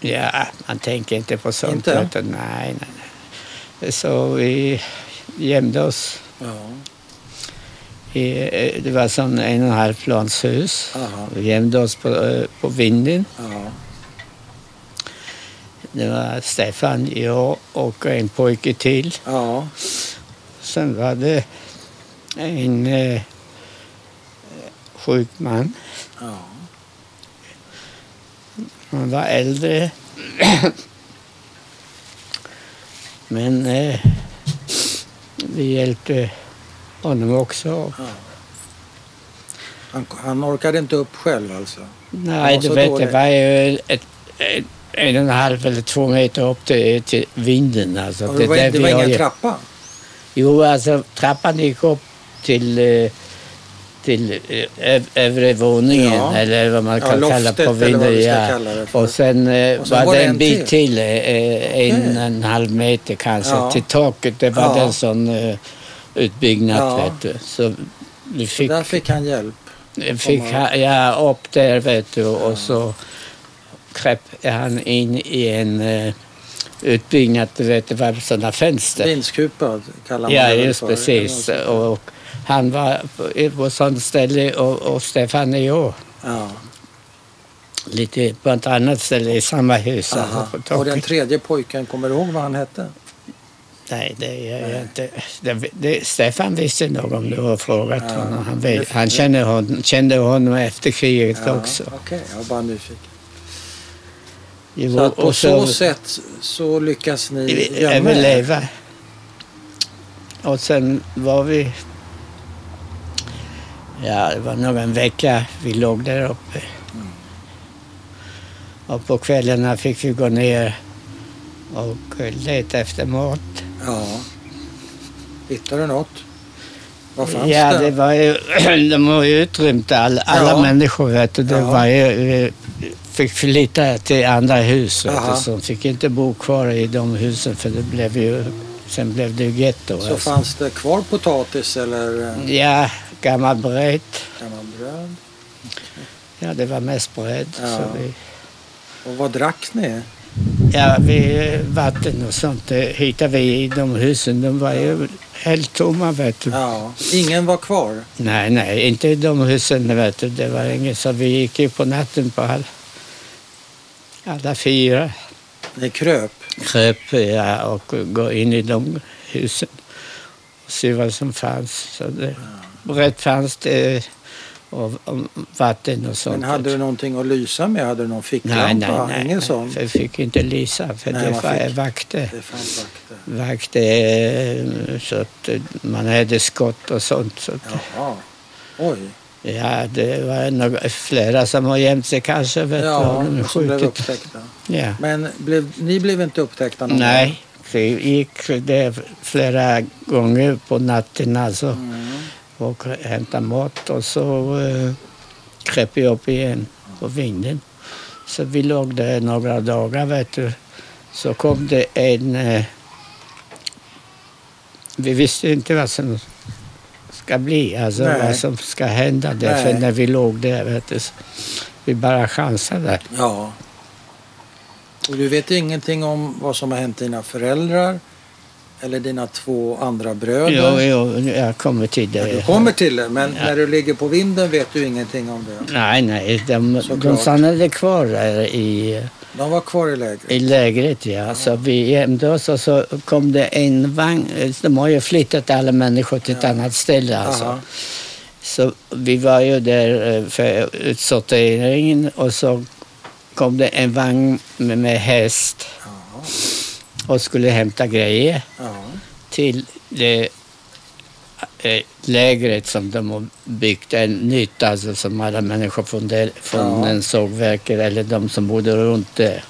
Speaker 1: Ja, man tänker inte på sånt.
Speaker 2: Inte?
Speaker 1: Utan, nej, nej, nej. Så vi gömde oss.
Speaker 2: Ja.
Speaker 1: I, eh, det var som en och en halv plans hus.
Speaker 2: Aha.
Speaker 1: Vi gömde oss på, eh, på vinden.
Speaker 2: ja.
Speaker 1: Det var Stefan, jag och en pojke till.
Speaker 2: ja.
Speaker 1: Sen var det en eh, sjuk man.
Speaker 2: ja.
Speaker 1: Han var äldre. Men eh, vi hjälpte honom också.
Speaker 2: Han, han orkade inte upp själv alltså?
Speaker 1: Nej,
Speaker 2: var
Speaker 1: du
Speaker 2: så
Speaker 1: vet, det
Speaker 2: dålig.
Speaker 1: var ju ett, ett, en och en halv eller två meter upp till, till vinden. Alltså.
Speaker 2: Och det var, det
Speaker 1: vi
Speaker 2: var
Speaker 1: har
Speaker 2: ingen
Speaker 1: ju-
Speaker 2: trappa?
Speaker 1: Jo, alltså trappan gick upp till, eh, till eh, öv- övre våningen
Speaker 2: Ja.
Speaker 1: eller vad man
Speaker 2: Ja,
Speaker 1: kan kalla
Speaker 2: loftet
Speaker 1: på
Speaker 2: eller vad
Speaker 1: vinden.
Speaker 2: vi ska
Speaker 1: Ja.
Speaker 2: kalla det för.
Speaker 1: Och sen, eh,
Speaker 2: Och sen
Speaker 1: var, det en bit till, eh, eh, en
Speaker 2: Okej.
Speaker 1: och en halv meter kanske,
Speaker 2: Ja.
Speaker 1: till taket. Det var
Speaker 2: Ja.
Speaker 1: en sån eh, utbyggnad.
Speaker 2: Ja.
Speaker 1: Vet du. Så vi fick,
Speaker 2: Där fick han hjälp.
Speaker 1: fick
Speaker 2: komma
Speaker 1: ha, ja, upp där vet du, och så kröp han in i en eh, utbyggnad. Du vet, det var sådana fönster.
Speaker 2: Vindskupa kallar man
Speaker 1: Ja,
Speaker 2: det väl
Speaker 1: just
Speaker 2: för.
Speaker 1: precis.
Speaker 2: Ja,
Speaker 1: Och han var på- på sånt ställe och, och Stefan och jag
Speaker 2: Ja.
Speaker 1: lite på ett annat ställe i samma hus.
Speaker 2: Aha.
Speaker 1: alltså, på
Speaker 2: Och
Speaker 1: taket.
Speaker 2: den tredje pojken, kommer du ihåg vad han hette?
Speaker 1: Nej, det gör jag inte. Det, det, Stefan visste nog om du har frågat
Speaker 2: Ja.
Speaker 1: honom. Han, vet,
Speaker 2: Det-
Speaker 1: han kände, honom, kände honom efter kriget
Speaker 2: Ja,
Speaker 1: också.
Speaker 2: Okej, jag var bara nyfiken.
Speaker 1: Jo,
Speaker 2: Så att på
Speaker 1: och
Speaker 2: så sätt så lyckas ni gömma er.
Speaker 1: överleva. Och sen var vi... Ja, det var nog en vecka vi låg där uppe. Och på kvällarna fick vi gå ner och eh, leta efter mat.
Speaker 2: Ja. Hittade du något? Vad fanns
Speaker 1: ja, det?
Speaker 2: det?
Speaker 1: var ju... *clears throat* de var ju utrymt all, alla
Speaker 2: Ja.
Speaker 1: människor, vet du. Det
Speaker 2: Ja.
Speaker 1: var ju... Vi fick flytta till andra hus, vet
Speaker 2: Aha.
Speaker 1: du. Så de fick inte bo kvar i de husen för det blev ju... Sen blev det ju getto. alltså.
Speaker 2: Så fanns det kvar potatis eller eh,
Speaker 1: Ja, gammal bröd.
Speaker 2: gammal bröd?
Speaker 1: Ja, det var mest bröd.
Speaker 2: Ja.
Speaker 1: Så vi,
Speaker 2: Och vad drack
Speaker 1: Mm.
Speaker 2: ni?
Speaker 1: ja, vi, eh, vatten och sånt det hittade vi i de husen. De var ju helt tomma, vet du.
Speaker 2: Ja, ingen var kvar.
Speaker 1: Nej, nej, inte i de husen, vet du. Det var inget. Så vi gick ju på natten på all, alla fyra.
Speaker 2: Ni kröp.
Speaker 1: Kröp ja, och gå in i de husen och se vad som fanns. Så det, bröd fanns det och, och vatten och sånt.
Speaker 2: Men hade du någonting att lysa med? Hade du någon ficklampa?
Speaker 1: Nej, nej, nej.
Speaker 2: Ingen
Speaker 1: nej.
Speaker 2: sån?
Speaker 1: För jag fick inte lysa, för
Speaker 2: Nej,
Speaker 1: det
Speaker 2: man
Speaker 1: var
Speaker 2: fick-
Speaker 1: vakter.
Speaker 2: Det fanns vakter.
Speaker 1: Vakter, eh, så att eh, man hade skott och sånt. Så att,
Speaker 2: Jaha. Oj.
Speaker 1: ja. det var nog flera som har gömt sig kanske, vet du,
Speaker 2: Ja,
Speaker 1: och de
Speaker 2: som blev
Speaker 1: skjutit.
Speaker 2: upptäckta.
Speaker 1: Ja.
Speaker 2: Men blev, ni blev inte upptäckta någon
Speaker 1: Nej, det gick det flera gånger på natten alltså
Speaker 2: gång? Mm.
Speaker 1: och hämtade mat och så eh, kröp jag upp igen på vinden. Så vi låg där några dagar vet du. Så kom det en... Eh, vi visste inte vad som ska bli, alltså
Speaker 2: Nej.
Speaker 1: vad som ska hända där. För
Speaker 2: Nej.
Speaker 1: när vi låg där vet du, så vi bara chansade.
Speaker 2: Ja. Och du vet ingenting om vad som har hänt dina föräldrar eller dina två andra
Speaker 1: Jo,
Speaker 2: bröder?
Speaker 1: jo, jag kommer till
Speaker 2: Ja,
Speaker 1: det.
Speaker 2: du kommer till det, men när du ligger på vinden vet du ingenting om det.
Speaker 1: Nej, nej, de, de
Speaker 2: Såklart.
Speaker 1: stannade kvar där i...
Speaker 2: De var kvar i lägret.
Speaker 1: I lägret, ja. Så vi gömde oss och så kom det en vagn. De har ju flyttat alla människor till ett
Speaker 2: Ja.
Speaker 1: annat ställe alltså.
Speaker 2: Aha.
Speaker 1: Så vi var ju där eh, för utsorteringen och så kom det en vagn med, med häst
Speaker 2: Ja,
Speaker 1: och skulle hämta grejer
Speaker 2: ja.
Speaker 1: till det eh, lägret som de har byggt är nytt, alltså som alla människor från, det, från
Speaker 2: Ja.
Speaker 1: den sågverket eller de som bodde runt det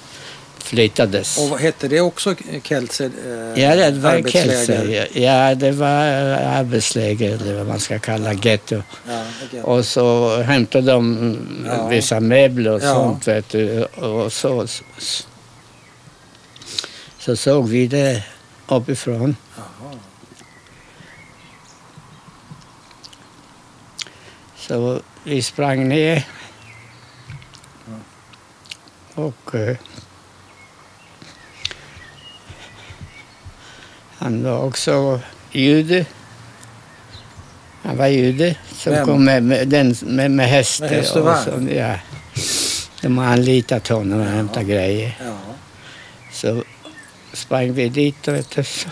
Speaker 1: flyttades.
Speaker 2: Och vad hette det också Keltse? Eh,
Speaker 1: Ja, det var
Speaker 2: arbetsläger?
Speaker 1: Kelser. Ja, det var eh, arbetsläger eller vad man ska kalla getto.
Speaker 2: Ja, okej.
Speaker 1: Och så hämtade de mm,
Speaker 2: Ja.
Speaker 1: vissa möbler och
Speaker 2: Ja.
Speaker 1: sånt, vet du. Och så, så såg vi det uppifrån.
Speaker 2: Jaha.
Speaker 1: Så vi sprang ner. Och eh, han var också jude. Han var jude som
Speaker 2: Vem?
Speaker 1: kom med, med, den, med, med häst.
Speaker 2: Med häst och vagn?
Speaker 1: så- ja. De har anlitat honom och hämtat grejer.
Speaker 2: Ja.
Speaker 1: Så sprang vi dit och vet du, så,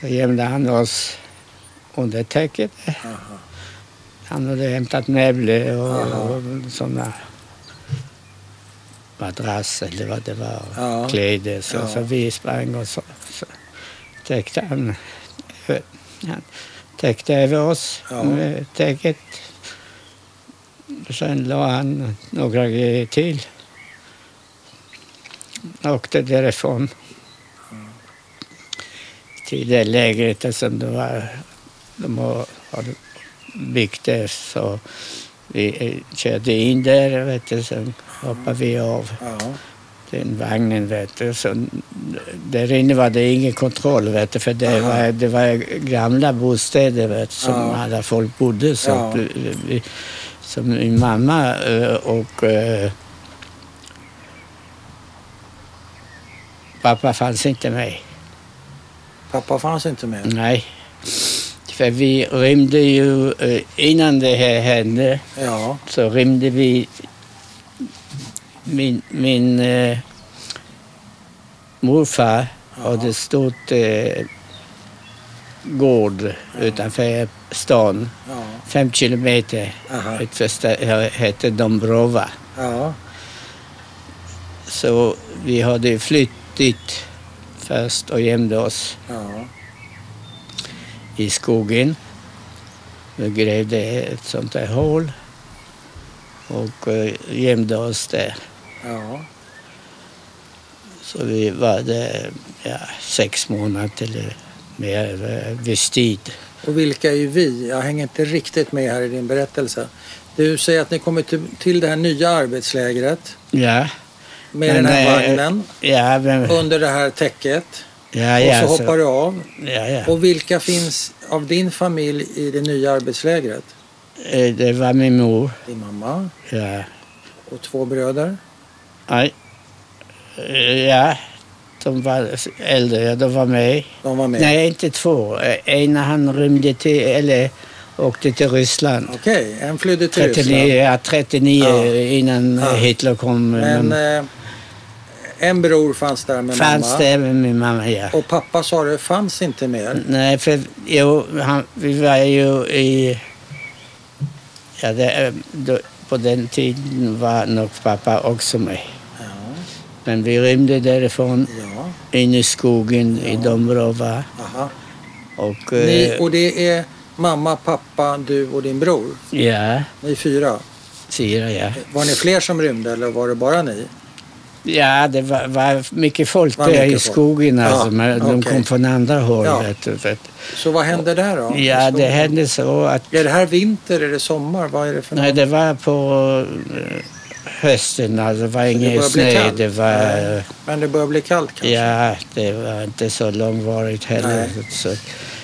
Speaker 1: så gömde han oss under täcket.
Speaker 2: Aha.
Speaker 1: Han hade hämtat möbler
Speaker 2: Jaha.
Speaker 1: och, och sådana madrass eller vad det var,
Speaker 2: Ja.
Speaker 1: kläder. Så,
Speaker 2: Ja.
Speaker 1: så vi sprang och så, så täckte han, han täckte över oss
Speaker 2: Ja.
Speaker 1: med täcket. Sen la han några grejer till. Åkte därifrån till det lägret som det var, de har, har byggt det. Så vi eh, körde in där, vet du, sen hoppade vi av
Speaker 2: Ja.
Speaker 1: den vagnen. Vet du. Så, där inne var det ingen kontroll, vet du, för det
Speaker 2: Aha.
Speaker 1: var, det var gamla bostäder vet du, som
Speaker 2: Ja.
Speaker 1: alla folk bodde. Så,
Speaker 2: Ja.
Speaker 1: att, eh, vi, så min mamma eh, och eh, pappa fanns inte med.
Speaker 2: Pappa fanns inte med?
Speaker 1: Nej. För vi rymde ju, eh, innan det här hände,
Speaker 2: Ja.
Speaker 1: så rymde vi min, min eh, morfar hade ett stort eh, gård utanför stan,
Speaker 2: Ja.
Speaker 1: fem kilometer.
Speaker 2: Aha.
Speaker 1: Ett första hette Dombrova.
Speaker 2: Ja.
Speaker 1: Så vi hade flytt dit först och gömde oss
Speaker 2: Ja.
Speaker 1: i skogen. Vi grävde ett sånt där hål och eh, gömde oss där.
Speaker 2: Ja.
Speaker 1: Så vi var där ja, sex månader eller mer eh, viss tid.
Speaker 2: Och vilka är vi? Jag hänger inte riktigt med här i din berättelse. Du säger att ni kommer till, till det här nya arbetslägret
Speaker 1: Ja,
Speaker 2: med
Speaker 1: Men,
Speaker 2: den här
Speaker 1: eh,
Speaker 2: vagnen
Speaker 1: ja, men,
Speaker 2: under det här täcket.
Speaker 1: ja,
Speaker 2: Och
Speaker 1: ja,
Speaker 2: så hoppar du av.
Speaker 1: ja, ja.
Speaker 2: Och vilka finns av din familj i det nya arbetslägret?
Speaker 1: Eh, Det var min mor.
Speaker 2: Din mamma
Speaker 1: Ja,
Speaker 2: och två bröder.
Speaker 1: Aj. Eh, ja. de var äldre, ja, de var med.
Speaker 2: De var med.
Speaker 1: Nej, inte två. Eh, En han rymde till, eller åkte till Ryssland.
Speaker 2: Okej, en flydde till
Speaker 1: 39,
Speaker 2: Ryssland.
Speaker 1: ja, 39
Speaker 2: Ja.
Speaker 1: innan
Speaker 2: Ja.
Speaker 1: Hitler kom.
Speaker 2: Men
Speaker 1: Men
Speaker 2: eh, en bror fanns där med
Speaker 1: fanns
Speaker 2: mamma.
Speaker 1: det med min mamma, ja.
Speaker 2: Och pappa sa det fanns inte mer.
Speaker 1: Nej, för jo, han, vi var ju i... Ja, det, eh, då, på den tiden var nog pappa också med. Mm.
Speaker 2: Ja,
Speaker 1: Men vi rymde därifrån
Speaker 2: ja,
Speaker 1: in i skogen i Domrova.
Speaker 2: aha.
Speaker 1: Och,
Speaker 2: Ni,
Speaker 1: eh,
Speaker 2: och det är mamma, pappa, du och din bror.
Speaker 1: Ja,
Speaker 2: Ni fyra.
Speaker 1: fyra ja.
Speaker 2: Var ni fler som rymde eller var det bara ni?
Speaker 1: Ja, det var, var mycket folk
Speaker 2: Var
Speaker 1: där
Speaker 2: mycket
Speaker 1: i
Speaker 2: folk.
Speaker 1: skogen alltså.
Speaker 2: Ja,
Speaker 1: men de
Speaker 2: okej.
Speaker 1: kom från andra håll.
Speaker 2: Ja.
Speaker 1: Vet du, vet.
Speaker 2: Så vad hände där då?
Speaker 1: ja, det hände så att...
Speaker 2: Är det här vinter? Är det sommar? Vad är det för
Speaker 1: Nej,
Speaker 2: något?
Speaker 1: det var på eh, hösten. Alltså, det var
Speaker 2: börjar
Speaker 1: ingen
Speaker 2: bli
Speaker 1: snö.
Speaker 2: kallt.
Speaker 1: Det var...
Speaker 2: Nej. Men det börjar bli kallt kanske?
Speaker 1: Ja, det var inte så långvarigt heller.
Speaker 2: Nej.
Speaker 1: Så,
Speaker 2: så,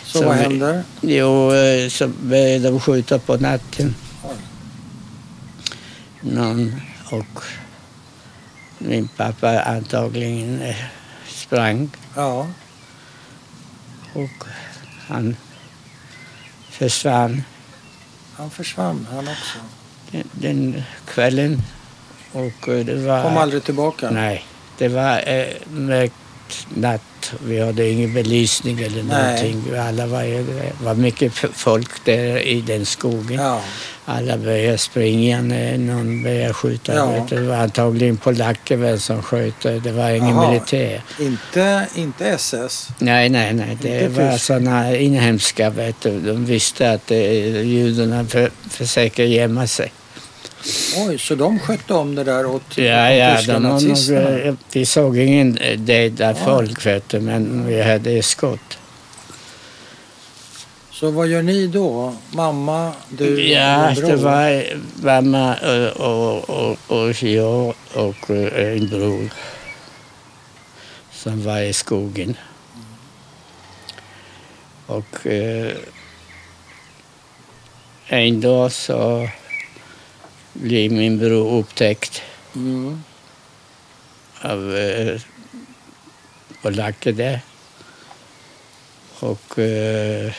Speaker 1: så
Speaker 2: vad
Speaker 1: vi-
Speaker 2: händer?
Speaker 1: Jo, eh, så började de skjuta på natten.
Speaker 2: Oj.
Speaker 1: Någon och min pappa antagligen eh, sprang
Speaker 2: Ja,
Speaker 1: och han försvann
Speaker 2: han försvann han också.
Speaker 1: den, den kvällen. Och eh, det var...
Speaker 2: Kom aldrig tillbaka?
Speaker 1: Nej, det var eh, mörkt natt. Vi hade ingen belysning eller
Speaker 2: Nej.
Speaker 1: någonting. Alla var, det var mycket folk där i den skogen.
Speaker 2: Ja,
Speaker 1: alla börjar springa när någon börjar skjuta.
Speaker 2: Ja.
Speaker 1: Vet du, Det var antagligen polacker väl som sköt. Det var ingen
Speaker 2: Jaha.
Speaker 1: militär.
Speaker 2: Inte, inte SS.
Speaker 1: Nej, nej, nej. Det
Speaker 2: Inte
Speaker 1: var
Speaker 2: tyst.
Speaker 1: sådana inhemska, vet du. De visste att eh, judarna för, försöker gömma sig.
Speaker 2: Oj, så de skötte om det där åt
Speaker 1: Ja,
Speaker 2: åt
Speaker 1: ja,
Speaker 2: tyska
Speaker 1: de har
Speaker 2: nazisterna?
Speaker 1: nog, eh, vi såg ingen eh, döda
Speaker 2: Ja.
Speaker 1: folk, vet du, men vi hade ju skott.
Speaker 2: Så vad gör ni då? Mamma, du
Speaker 1: Ja,
Speaker 2: och din bror?
Speaker 1: det var eh, mamma eh, och, och, och jag och eh, en bror som var i skogen. Och eh, en dag så blev min bror upptäckt
Speaker 2: Mm.
Speaker 1: av eh, polacker där. Och eh,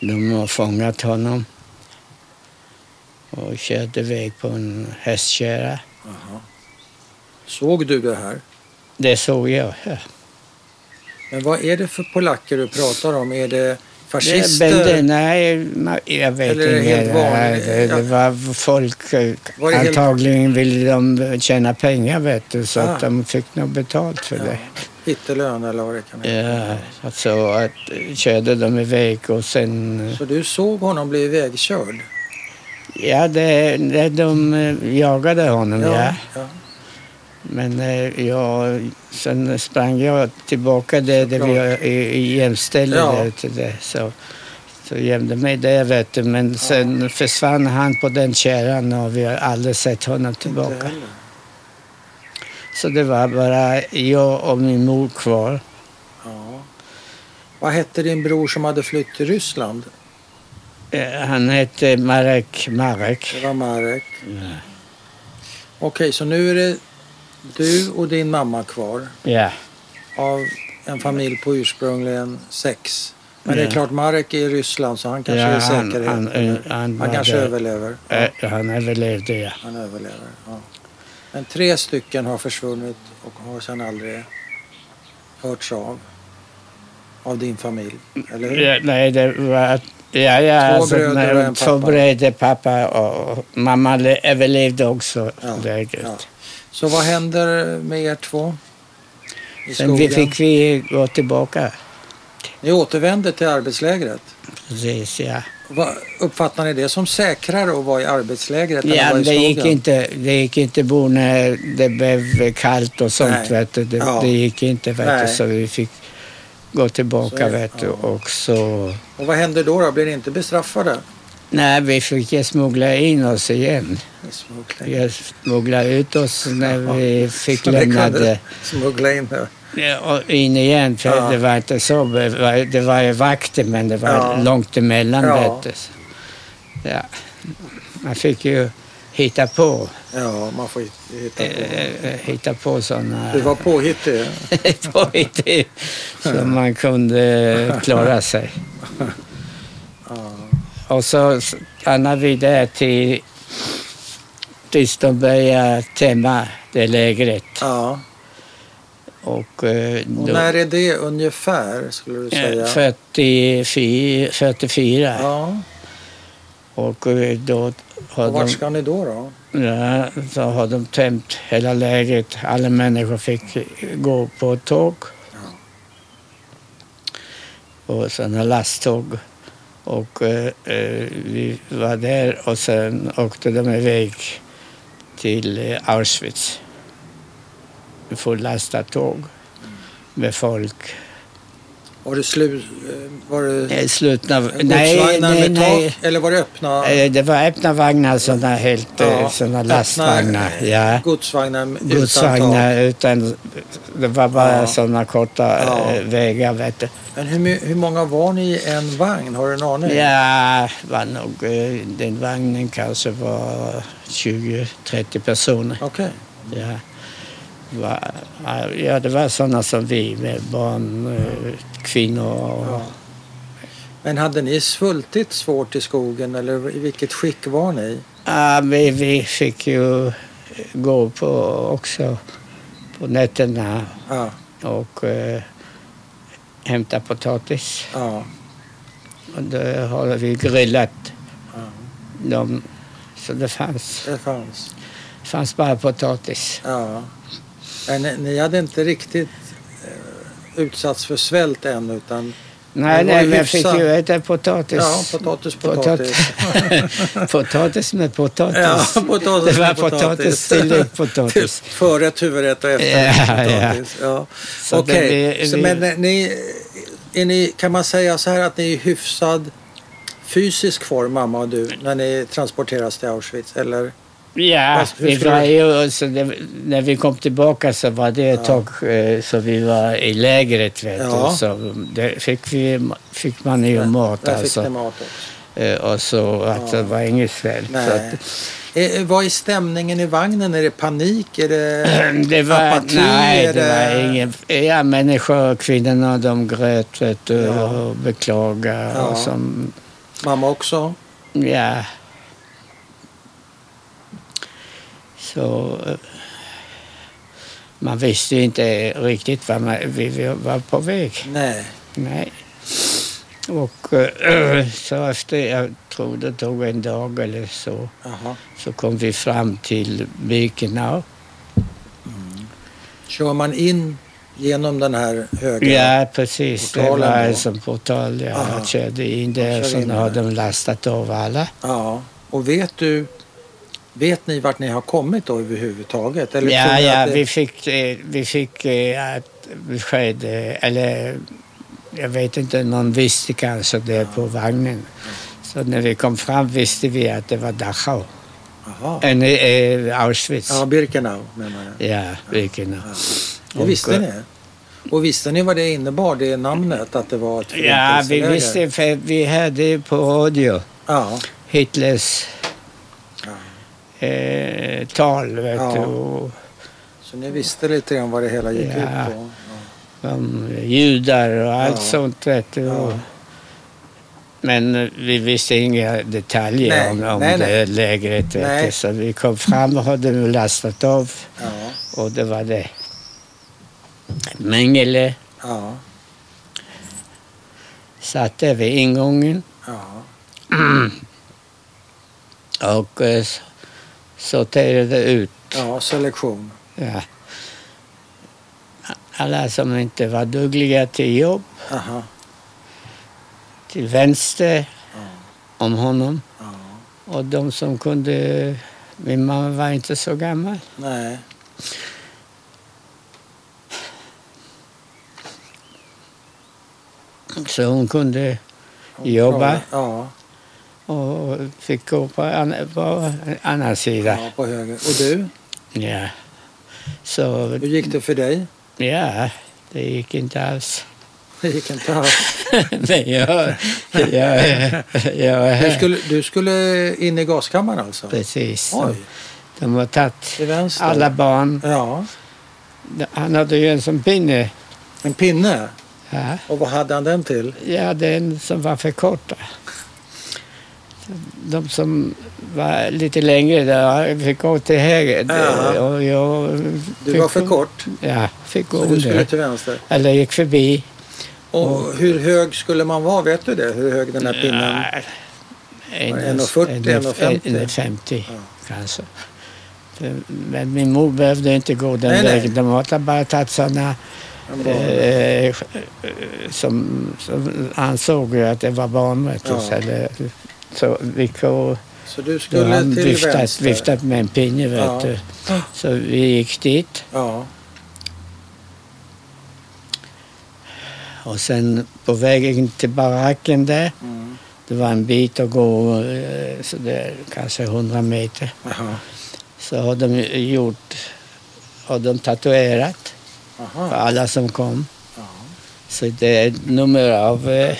Speaker 1: de har fångat honom och kört iväg på en hästkärra.
Speaker 2: Såg du det här?
Speaker 1: Det såg jag. ja.
Speaker 2: Men vad är det för polacker du pratar om? Är det
Speaker 1: Det,
Speaker 2: fascister?
Speaker 1: men det, nej, ma- jag vet
Speaker 2: eh, Eller är det
Speaker 1: inte.
Speaker 2: helt vanligt?
Speaker 1: Det, det var folk, eh,
Speaker 2: Var det helt-
Speaker 1: antagligen ville de tjäna pengar vet du, så
Speaker 2: Ah.
Speaker 1: att de fick nog betalt för det.
Speaker 2: Hittelön eller vad det kan heta.
Speaker 1: Ja, alltså att eh, körde de iväg och sen... eh,
Speaker 2: Så du såg honom bli ivägkörd?
Speaker 1: Ja, det, det, de eh, jagade honom, ja.
Speaker 2: ja.
Speaker 1: Men eh, jag, sen sprang jag tillbaka där, där vi
Speaker 2: Såklart.
Speaker 1: eh, i jämställde
Speaker 2: Ja.
Speaker 1: där ute. Där, så, så gömde mig där, vet du. Men sen försvann han på den kärran och vi har aldrig sett honom
Speaker 2: Inte
Speaker 1: tillbaka.
Speaker 2: heller.
Speaker 1: Så det var bara jag och min mor kvar.
Speaker 2: Ja. Vad hette din bror som hade flytt till Ryssland?
Speaker 1: Eh, Han hette Marek Marek.
Speaker 2: Det var Marek. Okej, så nu är det du och din mamma kvar
Speaker 1: Ja.
Speaker 2: av en familj på ursprungligen sex. Men det är
Speaker 1: Ja.
Speaker 2: klart, Marek är i Ryssland så han kanske är i säkerhet.
Speaker 1: han,
Speaker 2: Han,
Speaker 1: han, han, var
Speaker 2: kanske
Speaker 1: där.
Speaker 2: överlever. Ja,
Speaker 1: Eh, Han överlevde, ja.
Speaker 2: han överlever. Ja. Men tre stycken har försvunnit och har sedan aldrig hörts av. Av din familj, eller hur?
Speaker 1: ja nej, det var... Ja, ja,
Speaker 2: Två
Speaker 1: alltså,
Speaker 2: bröder
Speaker 1: nej,
Speaker 2: och en
Speaker 1: Två
Speaker 2: pappa.
Speaker 1: bröder, pappa och, och mamma le, överlevde också
Speaker 2: Ja,
Speaker 1: lägret.
Speaker 2: ja. Så vad händer med er två? I
Speaker 1: Sen vi
Speaker 2: skogen?
Speaker 1: fick vi gå tillbaka.
Speaker 2: Ni återvänder till arbetslägret.
Speaker 1: Precis, ja.
Speaker 2: Vad- Uppfattar ni det som säkrare att vara i arbetslägret än att
Speaker 1: ja
Speaker 2: vara i
Speaker 1: det, gick
Speaker 2: skogen?
Speaker 1: inte, det gick inte bo när det blev kallt och sånt.
Speaker 2: Nej.
Speaker 1: Vet du. Det,
Speaker 2: Ja.
Speaker 1: det gick inte, vet
Speaker 2: Nej.
Speaker 1: du, så vi fick gå
Speaker 2: Så
Speaker 1: tillbaka.
Speaker 2: är det.
Speaker 1: Vet du,
Speaker 2: Ja.
Speaker 1: och så...
Speaker 2: Och vad händer då? då? Blir ni inte bestraffade?
Speaker 1: Nej, vi fick ju smuggla in oss igen.
Speaker 2: Smuggla in.
Speaker 1: Jag smugglade ut oss när
Speaker 2: *laughs* Ja.
Speaker 1: vi fick
Speaker 2: Så ni kunde
Speaker 1: lämna det.
Speaker 2: Smuggla in det.
Speaker 1: Ja, och In igen, för
Speaker 2: Ja.
Speaker 1: det var inte så. Det var- Det var ju vakter, men det var
Speaker 2: Ja.
Speaker 1: långt emellan.
Speaker 2: Ja.
Speaker 1: Ja. Ja. Man fick ju hitta på,
Speaker 2: Ja, man får hit- hitta på.
Speaker 1: eh, eh, hitta på sådana *laughs*
Speaker 2: Du var påhittig.
Speaker 1: påhitt så man kunde klara sig.
Speaker 2: Ja.
Speaker 1: Och så stannade vi där till, tills de började tämma det lägret.
Speaker 2: ja.
Speaker 1: Och, eh,
Speaker 2: Och
Speaker 1: då-
Speaker 2: när är det ungefär, skulle du
Speaker 1: Eh,
Speaker 2: säga?
Speaker 1: 44. 44.
Speaker 2: Ja.
Speaker 1: Och eh, då har
Speaker 2: Och vart
Speaker 1: de,
Speaker 2: ska ni då? då?
Speaker 1: ja, så har de tömt hela lägret. Alla människor fick gå på tåg. Och sådana lasttåg. Och eh, eh, vi var där och sen åkte de iväg till eh, Auschwitz. Fullastat tåg med folk.
Speaker 2: Var det slut... Var det
Speaker 1: Eh, Slutna... Nej,
Speaker 2: Mm. godsvagnar
Speaker 1: nej,
Speaker 2: med
Speaker 1: nej.
Speaker 2: tak? Eller var det öppna?
Speaker 1: Eh, Det var öppna vagnar, sådana helt
Speaker 2: Ja,
Speaker 1: ja, såna
Speaker 2: öppna- eh,
Speaker 1: lastvagnar. Ja.
Speaker 2: Godsvagnar utan tak.
Speaker 1: Godsvagnar utan... Det var bara
Speaker 2: Ja.
Speaker 1: sådana korta
Speaker 2: Ja.
Speaker 1: eh, vägar, vet du.
Speaker 2: Men hur, my- hur många var ni i en vagn? Har du en aning?
Speaker 1: Ja, var nog, eh, den vagnen kanske var 20-30 personer.
Speaker 2: Okej.
Speaker 1: Ja. Va- Ja, det var sådana som vi med barn, eh, kvinnor och...
Speaker 2: Ja. Men hade ni svultit svårt i skogen eller i vilket skick var ni?
Speaker 1: Ja, vi, vi fick ju gå på också på nätterna
Speaker 2: Ja,
Speaker 1: och eh, hämta potatis.
Speaker 2: ja.
Speaker 1: Och då har vi grillat
Speaker 2: Ja,
Speaker 1: dem. Så det fanns,
Speaker 2: det fanns.
Speaker 1: fanns bara potatis.
Speaker 2: Ja. Men ni, ni hade inte riktigt eh, utsatts för svält än utan
Speaker 1: Nej,
Speaker 2: Det var
Speaker 1: nej, men jag fick
Speaker 2: hyfsat.
Speaker 1: ju äta potatis.
Speaker 2: ja,
Speaker 1: *laughs*
Speaker 2: potatis, potatis.
Speaker 1: Potat- potatis med potatis.
Speaker 2: Ja, potatis
Speaker 1: det var
Speaker 2: med potatis.
Speaker 1: potatis, tillägg
Speaker 2: *laughs*
Speaker 1: potatis.
Speaker 2: Förrätt, huvudrätt och efterrätt.
Speaker 1: Ja,
Speaker 2: potatis. Ja.
Speaker 1: Så det
Speaker 2: Okej,
Speaker 1: blir-
Speaker 2: Så
Speaker 1: vi-
Speaker 2: men eh, ni, är ni, kan man säga så här att ni är i hyfsad fysisk form, mamma och du, när ni transporteras till Auschwitz? Eller?
Speaker 1: Ja,
Speaker 2: Fast hur
Speaker 1: vi
Speaker 2: skulle
Speaker 1: var
Speaker 2: du-
Speaker 1: ju, så det, när vi kom tillbaka så var det ett tag eh, så vi var i lägret. Vet
Speaker 2: Ja.
Speaker 1: du, så det fick, vi, fick man ju mat
Speaker 2: Där fick ni
Speaker 1: alltså.
Speaker 2: mat också.
Speaker 1: Eh, Och så att det var inget svält. Så
Speaker 2: Nej.
Speaker 1: att,
Speaker 2: Eh, vad är stämningen i vagnen? Är det panik? Är det...
Speaker 1: *clears throat* det var,
Speaker 2: Apati,
Speaker 1: nej, det
Speaker 2: är det-
Speaker 1: var ingen... Ja, människor, kvinnorna, de grät vet du,
Speaker 2: Ja.
Speaker 1: och beklagade.
Speaker 2: Ja.
Speaker 1: Och som,
Speaker 2: Mamma också?
Speaker 1: ja. Så... eh, Man visste ju inte riktigt vad man, vi, vi var på väg.
Speaker 2: Nej.
Speaker 1: Nej. Och eh, *clears throat* så efter, jag tror det tog en dag eller så,
Speaker 2: Jaha.
Speaker 1: så kom vi fram till Birkenau.
Speaker 2: Kör man in genom den här högen?
Speaker 1: Ja, precis. Det
Speaker 2: Portalen
Speaker 1: var
Speaker 2: då?
Speaker 1: en sån portal. Ja,
Speaker 2: Aha.
Speaker 1: jag körde in
Speaker 2: Jag
Speaker 1: där
Speaker 2: kör in
Speaker 1: så har
Speaker 2: där.
Speaker 1: de lastat av alla.
Speaker 2: Ja. Och vet du... Vet ni vart ni har kommit då överhuvudtaget? Eller tror
Speaker 1: ja,
Speaker 2: ni
Speaker 1: ja,
Speaker 2: att det-
Speaker 1: vi fick, eh, vi fick eh, ett besked, eh, eller jag vet inte, någon visste kanske det på vagnen. Så när vi kom fram visste vi att det var Dachau,
Speaker 2: Jaha.
Speaker 1: en, eh, Auschwitz.
Speaker 2: Ja, Birkenau menar jag.
Speaker 1: Ja, Birkenau.
Speaker 2: Ja. Och visste
Speaker 1: Och-
Speaker 2: ni? Och visste ni vad det innebar, det namnet, att det var ett
Speaker 1: Ja, vi
Speaker 2: förintelseläger?
Speaker 1: visste, för vi hörde på radio
Speaker 2: Ja,
Speaker 1: Hitlers eh, tal, vet
Speaker 2: Ja.
Speaker 1: du. och-
Speaker 2: så ni visste lite grann vad det hela gick
Speaker 1: Ja.
Speaker 2: ut på?
Speaker 1: om judar och allt
Speaker 2: Ja.
Speaker 1: sånt. Vet du.
Speaker 2: Ja.
Speaker 1: Men eh, vi visste inga detaljer
Speaker 2: Nej,
Speaker 1: om, om
Speaker 2: nej,
Speaker 1: det
Speaker 2: nej.
Speaker 1: lägret. Vet
Speaker 2: Nej.
Speaker 1: du. Så vi kom fram och hade nu lastat av
Speaker 2: Ja,
Speaker 1: och det var det. Mengele
Speaker 2: ja,
Speaker 1: satt där vid ingången
Speaker 2: ja.
Speaker 1: och eh, s- sorterade ut
Speaker 2: ja selektion.
Speaker 1: ja, alla som inte var dugliga till jobb
Speaker 2: Aha.
Speaker 1: till vänster
Speaker 2: Ja.
Speaker 1: om honom.
Speaker 2: Ja.
Speaker 1: Och de som kunde... Min mamma var inte så gammal.
Speaker 2: Nej.
Speaker 1: Så hon kunde
Speaker 2: Hon
Speaker 1: jobba
Speaker 2: klarade- Ja,
Speaker 1: och fick gå på an, på en annan sida.
Speaker 2: ja, på höger. Och du,
Speaker 1: Ja. Så
Speaker 2: hur gick det för dig? *laughs*
Speaker 1: ja, det gick inte alls. *laughs*
Speaker 2: Det gick inte alls.
Speaker 1: Men jag... jag, jag,
Speaker 2: Du skulle, du skulle in i gaskammaren alltså?
Speaker 1: Precis.
Speaker 2: Oj,
Speaker 1: De har tagit
Speaker 2: till vänster.
Speaker 1: alla barn.
Speaker 2: Ja,
Speaker 1: Han hade ju en sån pinne.
Speaker 2: en pinne.
Speaker 1: Ja.
Speaker 2: Och vad hade han den till?
Speaker 1: Ja, den som var för korta. De som var lite längre där fick gå till höger.
Speaker 2: Ja.
Speaker 1: Och jag
Speaker 2: Du
Speaker 1: fick
Speaker 2: var för
Speaker 1: gå-
Speaker 2: kort,
Speaker 1: Ja, fick gå
Speaker 2: så du skulle
Speaker 1: under.
Speaker 2: till vänster.
Speaker 1: Eller gick förbi.
Speaker 2: Och hur hög skulle man vara? Vet du det? Hur hög den här pinnen?
Speaker 1: Ja,
Speaker 2: Var det 1,40, 1,50?
Speaker 1: 1,50 kanske. Det- Men min mor behövde inte gå den
Speaker 2: Nej, nej.
Speaker 1: vägen. De hade bara tagit sådana
Speaker 2: Den var-
Speaker 1: eh, eh, som, som ansåg ju att det var barnmötes.
Speaker 2: Ja.
Speaker 1: Eller, så vi går
Speaker 2: Så du
Speaker 1: Då har
Speaker 2: skulle
Speaker 1: han
Speaker 2: till
Speaker 1: viftat,
Speaker 2: vänster?
Speaker 1: viftat med en pinne, vet
Speaker 2: Ja.
Speaker 1: du. Så vi gick dit
Speaker 2: Ja,
Speaker 1: och sen på vägen till baracken där,
Speaker 2: mm.
Speaker 1: det var en bit att gå, eh, så det är kanske 100 meter,
Speaker 2: Jaha.
Speaker 1: så har de gjort, har de tatuerat för
Speaker 2: Jaha.
Speaker 1: alla som kom.
Speaker 2: Ja.
Speaker 1: Så det är ett nummer av eh,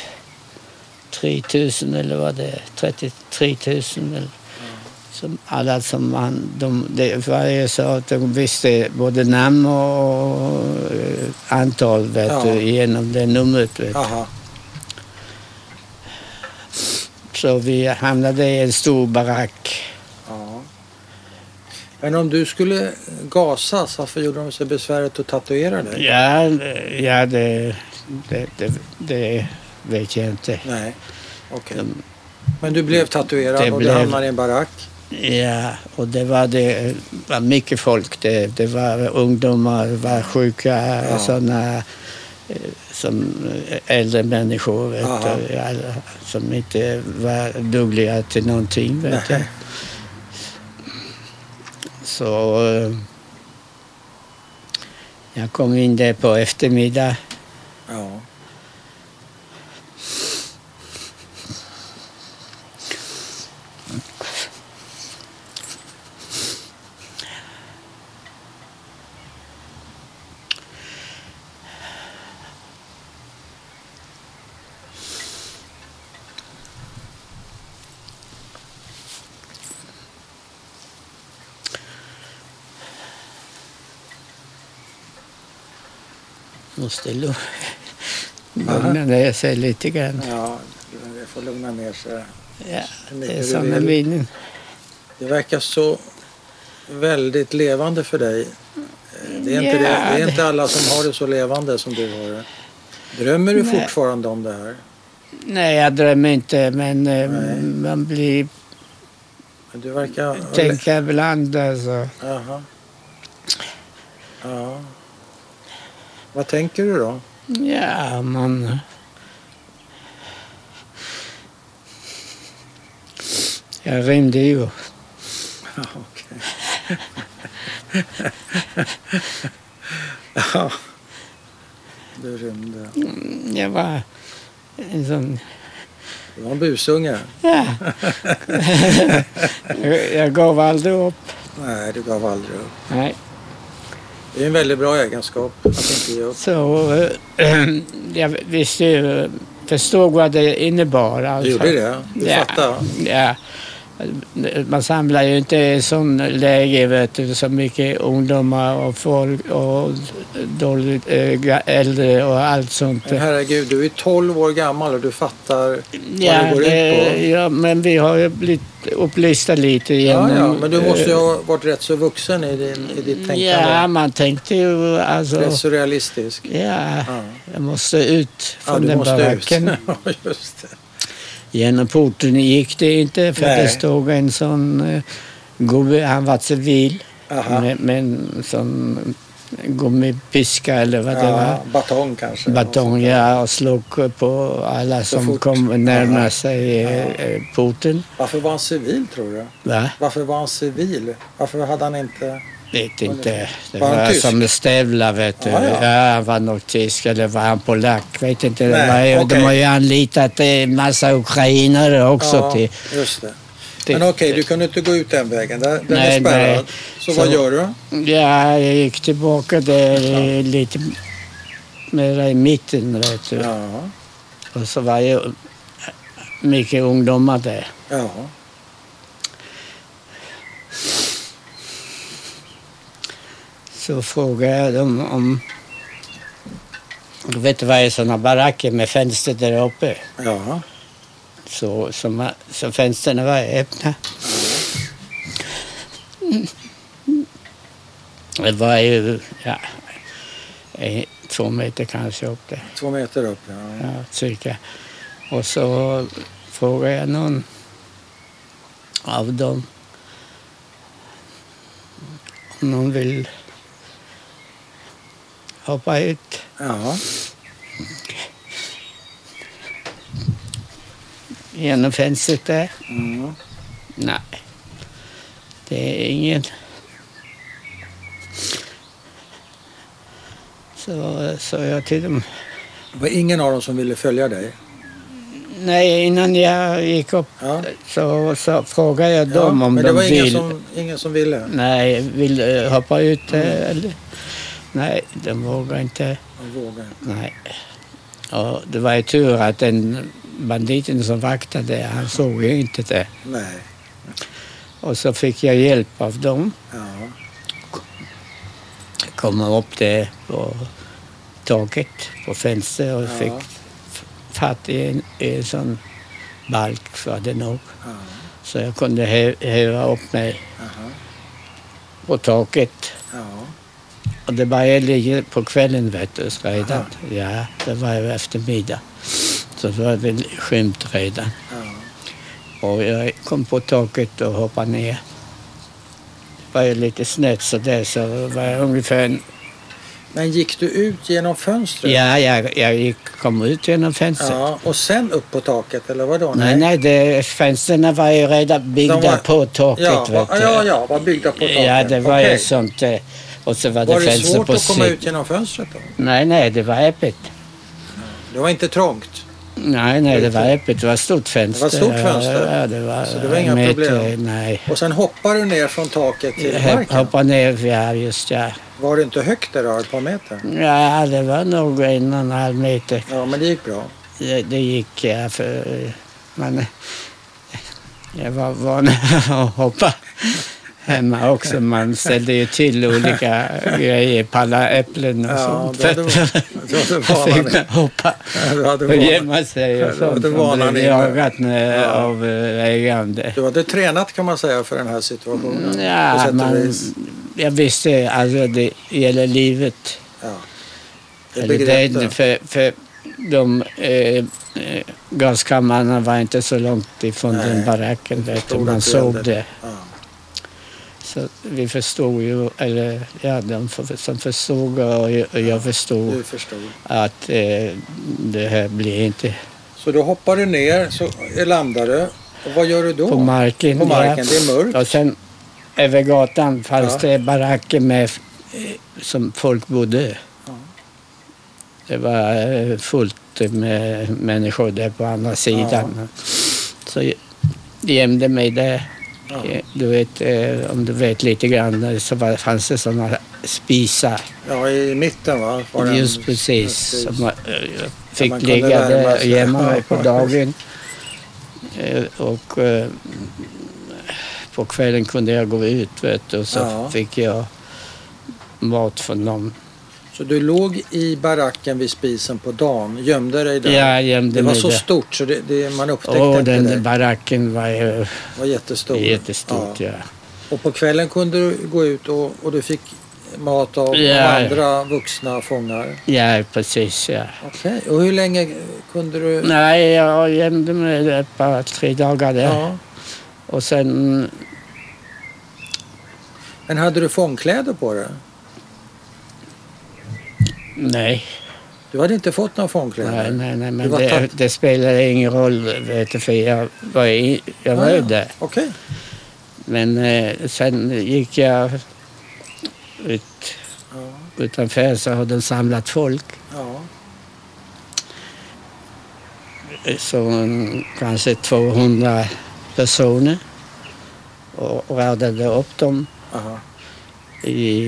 Speaker 1: 3000 eller vad det är, 33 000 eller som alla som man, de, det var ju så att de visste både namn och eh, antal vet
Speaker 2: Ja.
Speaker 1: du, genom det numret. Vet. du.
Speaker 2: Jaha.
Speaker 1: Så vi hamnade i en stor barack.
Speaker 2: Ja. Men om du skulle gasas, varför gjorde de sig besväret att tatuera dig?
Speaker 1: Ja, eh, ja det, det, det, det vet jag inte.
Speaker 2: Nej. Okej.
Speaker 1: De,
Speaker 2: Men du blev tatuerad
Speaker 1: Det
Speaker 2: och
Speaker 1: blev-
Speaker 2: du hamnade i en barack.
Speaker 1: Ja, och det var, det var mycket folk. Det, det var ungdomar, det var sjuka,
Speaker 2: Ja.
Speaker 1: sådana som eh, äldre människor vet
Speaker 2: Aha.
Speaker 1: du, alla, som inte var dugliga till någonting. Vet du.
Speaker 2: Nej.
Speaker 1: Så eh, jag kom in där på eftermiddag
Speaker 2: Ja.
Speaker 1: Måste lu- lugna ner sig lite grann.
Speaker 2: ja, det får lugna ner sig.
Speaker 1: Ja,
Speaker 2: hur mycket
Speaker 1: det är
Speaker 2: du
Speaker 1: som med
Speaker 2: vill.
Speaker 1: vinen.
Speaker 2: Det verkar så väldigt levande för dig. Eh, Det är, inte
Speaker 1: Ja,
Speaker 2: det, det är
Speaker 1: det-
Speaker 2: inte alla som har det så levande som du har det. Drömmer du
Speaker 1: Nej.
Speaker 2: fortfarande om det här?
Speaker 1: Nej, jag drömmer inte, men eh,
Speaker 2: Nej.
Speaker 1: man blir
Speaker 2: Men Du verkar...
Speaker 1: tänka ibland alltså.
Speaker 2: Jaha. Ja. Vad tänker du då?
Speaker 1: Ja, man... Jag rymde ju.
Speaker 2: Ja, okej. *laughs* ja. Du rymde.
Speaker 1: Jag var en sån...
Speaker 2: Du var en busunge.
Speaker 1: Ja. *laughs* Jag- jag gav aldrig upp.
Speaker 2: Nej, du gav aldrig upp.
Speaker 1: Nej.
Speaker 2: Det är en väldigt bra egenskap att inte ge upp.
Speaker 1: Så eh, *clears throat* jag visste ju, förstod vad det innebar.
Speaker 2: Du
Speaker 1: Alltså.
Speaker 2: gjorde det. Du
Speaker 1: Ja.
Speaker 2: fattade.
Speaker 1: Ja. Man samlar ju inte i sån läge, vet du, så mycket ungdomar och folk och dåligt, eh, ga- äldre och allt sånt.
Speaker 2: Men herregud, du är 12 år gammal och du fattar.
Speaker 1: Ja,
Speaker 2: det går ut
Speaker 1: det-
Speaker 2: på.
Speaker 1: ja, men vi har ju blivit upplysta lite
Speaker 2: Ja,
Speaker 1: genom...
Speaker 2: ja, men du måste ju ha varit rätt så vuxen i, din, i ditt tänkande.
Speaker 1: eh, Ja, man tänkte ju alltså...
Speaker 2: Rätt så realistisk.
Speaker 1: Ja,
Speaker 2: Ja,
Speaker 1: jag måste ut
Speaker 2: ja
Speaker 1: från
Speaker 2: du
Speaker 1: den
Speaker 2: måste ut. *laughs*
Speaker 1: baracken.
Speaker 2: Ja, just det.
Speaker 1: Genom porten gick det inte för
Speaker 2: Nej.
Speaker 1: det stod en sån eh, gubbe, han var civil,
Speaker 2: Aha.
Speaker 1: med, med en sån gummipiska eller vad det var.
Speaker 2: Ja, batong kanske.
Speaker 1: Batong, ja, och slog på alla
Speaker 2: Så
Speaker 1: som
Speaker 2: fort.
Speaker 1: kom närmare
Speaker 2: Ja.
Speaker 1: sig eh,
Speaker 2: Ja.
Speaker 1: eh, porten.
Speaker 2: Varför var han civil tror du?
Speaker 1: Va?
Speaker 2: Varför var han civil? Varför hade han inte...
Speaker 1: Vet inte. Det
Speaker 2: Var
Speaker 1: var,
Speaker 2: han tysk?
Speaker 1: som stövlar, vet du.
Speaker 2: Ja, ja.
Speaker 1: Ja, var nog tysk eller var han polack? Vet inte. Det var,
Speaker 2: Nej,
Speaker 1: ju-
Speaker 2: okej.
Speaker 1: De har ju anlitat en massa ukrainare också
Speaker 2: ja,
Speaker 1: till...
Speaker 2: just det.
Speaker 1: till
Speaker 2: Men okej, du kunde inte gå ut den vägen. Där, den är
Speaker 1: Nej,
Speaker 2: spärrad.
Speaker 1: nej.
Speaker 2: Så,
Speaker 1: Så-
Speaker 2: vad gör du?
Speaker 1: Ja, jag gick tillbaka där eh, lite mera i mitten, vet du.
Speaker 2: Ja.
Speaker 1: Och så var ju mycket ungdomar där.
Speaker 2: ja.
Speaker 1: Så frågade jag dem om... Du vet, det var ju sådana baracker med fönster där uppe.
Speaker 2: Ja.
Speaker 1: Så, så, ma- så fönstren var öppna. Det var ju, ja, eh, två meter kanske upp där.
Speaker 2: Två meter upp. Ja.
Speaker 1: ja, cirka. Och så frågade jag någon av dem om någon vill hoppa ut.
Speaker 2: ja.
Speaker 1: genom fönstret där?
Speaker 2: Mm.
Speaker 1: Nej, det är ingen. Så sa jag till dem.
Speaker 2: Det var ingen av dem som ville följa dig.
Speaker 1: Nej, innan jag gick upp
Speaker 2: Ja.
Speaker 1: så, så frågade jag
Speaker 2: Ja,
Speaker 1: dem om
Speaker 2: men
Speaker 1: de
Speaker 2: det var ingen
Speaker 1: vill.
Speaker 2: som, ingen som ville.
Speaker 1: Nej, vill du hoppa ut eh, eller? Nej, de vågar inte.
Speaker 2: De vågade.
Speaker 1: Nej. Och det var ju tur att den banditen som vaktade, han såg ju inte det.
Speaker 2: Nej.
Speaker 1: Och så fick jag hjälp av dem.
Speaker 2: Ja.
Speaker 1: Komma upp där på taket, på fönstret och fick
Speaker 2: Ja.
Speaker 1: fatt i en, i en sån balk var det nog.
Speaker 2: Ja.
Speaker 1: Så jag kunde hö- höra upp mig
Speaker 2: Aha.
Speaker 1: på taket.
Speaker 2: Ja.
Speaker 1: Och det började ligga på kvällen vet du, redan.
Speaker 2: Aha.
Speaker 1: Ja, det var ju eftermiddag. så det var väl skymt redan.
Speaker 2: Ja.
Speaker 1: Och jag kom på taket och hoppade ner. Det var ju lite snett så där så var jag ungefär... En,
Speaker 2: Men gick du ut genom fönstret?
Speaker 1: ja, jag, jag gick, kom ut genom fönstret.
Speaker 2: Ja, och sen upp på taket eller vadå?
Speaker 1: Nej, nej, det, fönstren var ju redan byggda
Speaker 2: De var-
Speaker 1: på taket.
Speaker 2: Ja, va,
Speaker 1: vet du.
Speaker 2: ja, ja, var byggda på taket.
Speaker 1: Ja, det var
Speaker 2: Okej.
Speaker 1: ju sånt. eh, Och så var det
Speaker 2: Var det
Speaker 1: fönster
Speaker 2: svårt
Speaker 1: på
Speaker 2: att komma
Speaker 1: sidan.
Speaker 2: ut genom fönstret då?
Speaker 1: Nej, nej, det var öppet.
Speaker 2: Det var inte trångt.
Speaker 1: Nej, nej, det var öppet. Det var ett stort fönster.
Speaker 2: Det var ett stort fönster.
Speaker 1: Ja, det var,
Speaker 2: Så det var inga
Speaker 1: meter,
Speaker 2: problem.
Speaker 1: Nej.
Speaker 2: Och sen hoppar du ner från taket till
Speaker 1: Hop-
Speaker 2: marken.
Speaker 1: Hoppa ner, ja just ja.
Speaker 2: Var det inte högt där då, ett par meter?
Speaker 1: Ja, det var nog en och en halv meter.
Speaker 2: Ja, men det gick bra.
Speaker 1: Det, det gick, ja, för eh, man... eh, Jag var van att hoppa hemma också. Man ställde ju till olika grejer, palla äpplen och
Speaker 2: Ja,
Speaker 1: sånt. *laughs*
Speaker 2: då hade du- då hade du
Speaker 1: Så *laughs* fick
Speaker 2: vanan-
Speaker 1: man hoppa
Speaker 2: Ja, Du hade,
Speaker 1: och
Speaker 2: vanan-
Speaker 1: gömma sig och
Speaker 2: Ja, då
Speaker 1: sånt.
Speaker 2: hade
Speaker 1: Man
Speaker 2: vanan
Speaker 1: blev
Speaker 2: inne.
Speaker 1: jagad med-
Speaker 2: Ja.
Speaker 1: av eh, ägande.
Speaker 2: du hade tränat kan man säga för den här situationen. på
Speaker 1: Mm, Ja,
Speaker 2: sätt och
Speaker 1: man,
Speaker 2: vis.
Speaker 1: jag visste alltså det gäller livet.
Speaker 2: Ja. Det
Speaker 1: Eller det,
Speaker 2: begrep
Speaker 1: det,
Speaker 2: du.
Speaker 1: för, för de eh, eh, gaskamrarna var inte så långt ifrån
Speaker 2: Nej,
Speaker 1: den baracken. Vet du.
Speaker 2: förstod
Speaker 1: Man
Speaker 2: att det
Speaker 1: såg
Speaker 2: gällde.
Speaker 1: det.
Speaker 2: Ja.
Speaker 1: Så vi förstod ju, eller ja, de för- som förstod och jag, och jag förstod
Speaker 2: Du förstod.
Speaker 1: att eh, det här blir inte
Speaker 2: Så då hoppar du ner, så landar du. Och vad gör du då?
Speaker 1: på marken.
Speaker 2: På marken, det är mörkt.
Speaker 1: Och sen över gatan fanns
Speaker 2: Ja.
Speaker 1: det baracker med, eh, som folk bodde.
Speaker 2: Ja.
Speaker 1: Det var eh, fullt med människor där på andra sidan. Så jag gömde mig där.
Speaker 2: Ja.
Speaker 1: Du vet, eh, om du vet lite grann så var, fanns det sådana spisar.
Speaker 2: Ja, i mitten va? Var det en-
Speaker 1: just precis. Som man, eh, jag fick
Speaker 2: man kunde
Speaker 1: ligga
Speaker 2: värma
Speaker 1: där och
Speaker 2: sig.
Speaker 1: gömma mig på
Speaker 2: Ja.
Speaker 1: dagen. Eh, och eh, på kvällen kunde jag gå ut vet du, och så
Speaker 2: Ja.
Speaker 1: fick jag mat från dem.
Speaker 2: Så du låg i baracken vid spisen på dagen, gömde dig där.
Speaker 1: Jag gömde
Speaker 2: det var
Speaker 1: mig
Speaker 2: så
Speaker 1: där.
Speaker 2: stort så det, det, man upptäckte
Speaker 1: Och
Speaker 2: inte
Speaker 1: den
Speaker 2: dig.
Speaker 1: baracken var ju
Speaker 2: Det var jättestort.
Speaker 1: jättestort. Ja.
Speaker 2: Och på kvällen kunde du gå ut och, och du fick mat av,
Speaker 1: Ja.
Speaker 2: av andra vuxna fångar.
Speaker 1: Ja. precis. Ja.
Speaker 2: Okej, och hur länge kunde du...
Speaker 1: Nej, jag gömde mig där ett par, tre dagar där.
Speaker 2: Ja.
Speaker 1: Och sen,
Speaker 2: Men hade du fångkläder på dig?
Speaker 1: nej,
Speaker 2: Du hade inte fått några fångkläder?
Speaker 1: nej, nej, nej
Speaker 2: Du
Speaker 1: men
Speaker 2: var
Speaker 1: det,
Speaker 2: tatt-
Speaker 1: det spelade ingen roll, vet du, för jag var, i, jag var ju
Speaker 2: Ah,
Speaker 1: där.
Speaker 2: Okej.
Speaker 1: Men eh, sen gick jag ut
Speaker 2: Ja,
Speaker 1: utanför så hade de samlat folk.
Speaker 2: ja.
Speaker 1: eh, Så kanske 200 personer och radade upp dem
Speaker 2: Aha.
Speaker 1: i,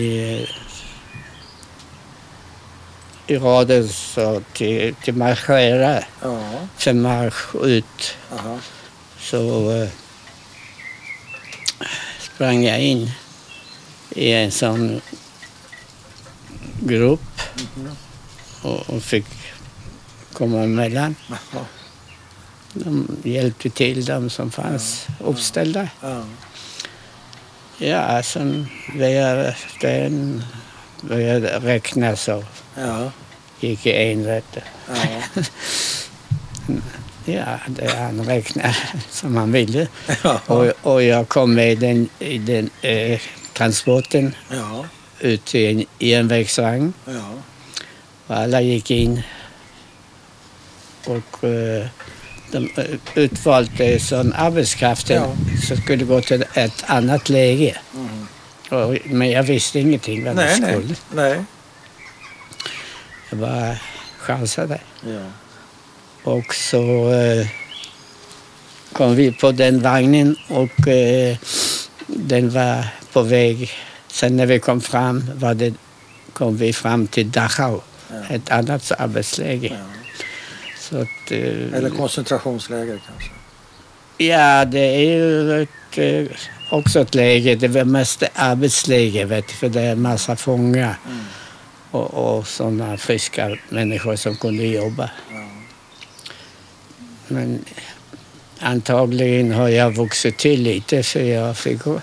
Speaker 1: i raden så till, till marschera,
Speaker 2: Ja,
Speaker 1: för marsch ut.
Speaker 2: aha.
Speaker 1: Så eh, sprang jag in i en sån grupp och, och fick komma emellan.
Speaker 2: Aha.
Speaker 1: De hjälpte till, de som fanns uppställda.
Speaker 2: Ja.
Speaker 1: Ja, alltså, sen började den började räkna så
Speaker 2: Ja.
Speaker 1: gick jag en rätt.
Speaker 2: Ja.
Speaker 1: Ja, det han räknade som han ville.
Speaker 2: Ja.
Speaker 1: Och, och jag kom med i den, i den eh, transporten
Speaker 2: Ja.
Speaker 1: ut till en järnvägsvagn.
Speaker 2: Ja.
Speaker 1: Och alla gick in. Och eh, de eh, utvalde sån arbetskraften
Speaker 2: Ja.
Speaker 1: som skulle gå till ett annat läge.
Speaker 2: Mm.
Speaker 1: Och, men jag visste ingenting vad det
Speaker 2: Nej,
Speaker 1: skulle.
Speaker 2: nej. Nej.
Speaker 1: Jag bara chansade.
Speaker 2: Ja.
Speaker 1: Och så eh, kom vi på den vagnen och eh, den var på väg. Sen när vi kom fram var det, kom vi fram till Dachau,
Speaker 2: Ja.
Speaker 1: ett annat arbetsläge.
Speaker 2: Ja.
Speaker 1: Så att, eh,
Speaker 2: Eller koncentrationsläger kanske.
Speaker 1: ja, det är ju ett, eh, också ett läge. Det var mest arbetsläge, vet du, för det är en massa fångar
Speaker 2: Mm.
Speaker 1: och, och sådana friska människor som kunde jobba.
Speaker 2: Ja.
Speaker 1: Men antagligen har jag vuxit till lite för jag fick, o-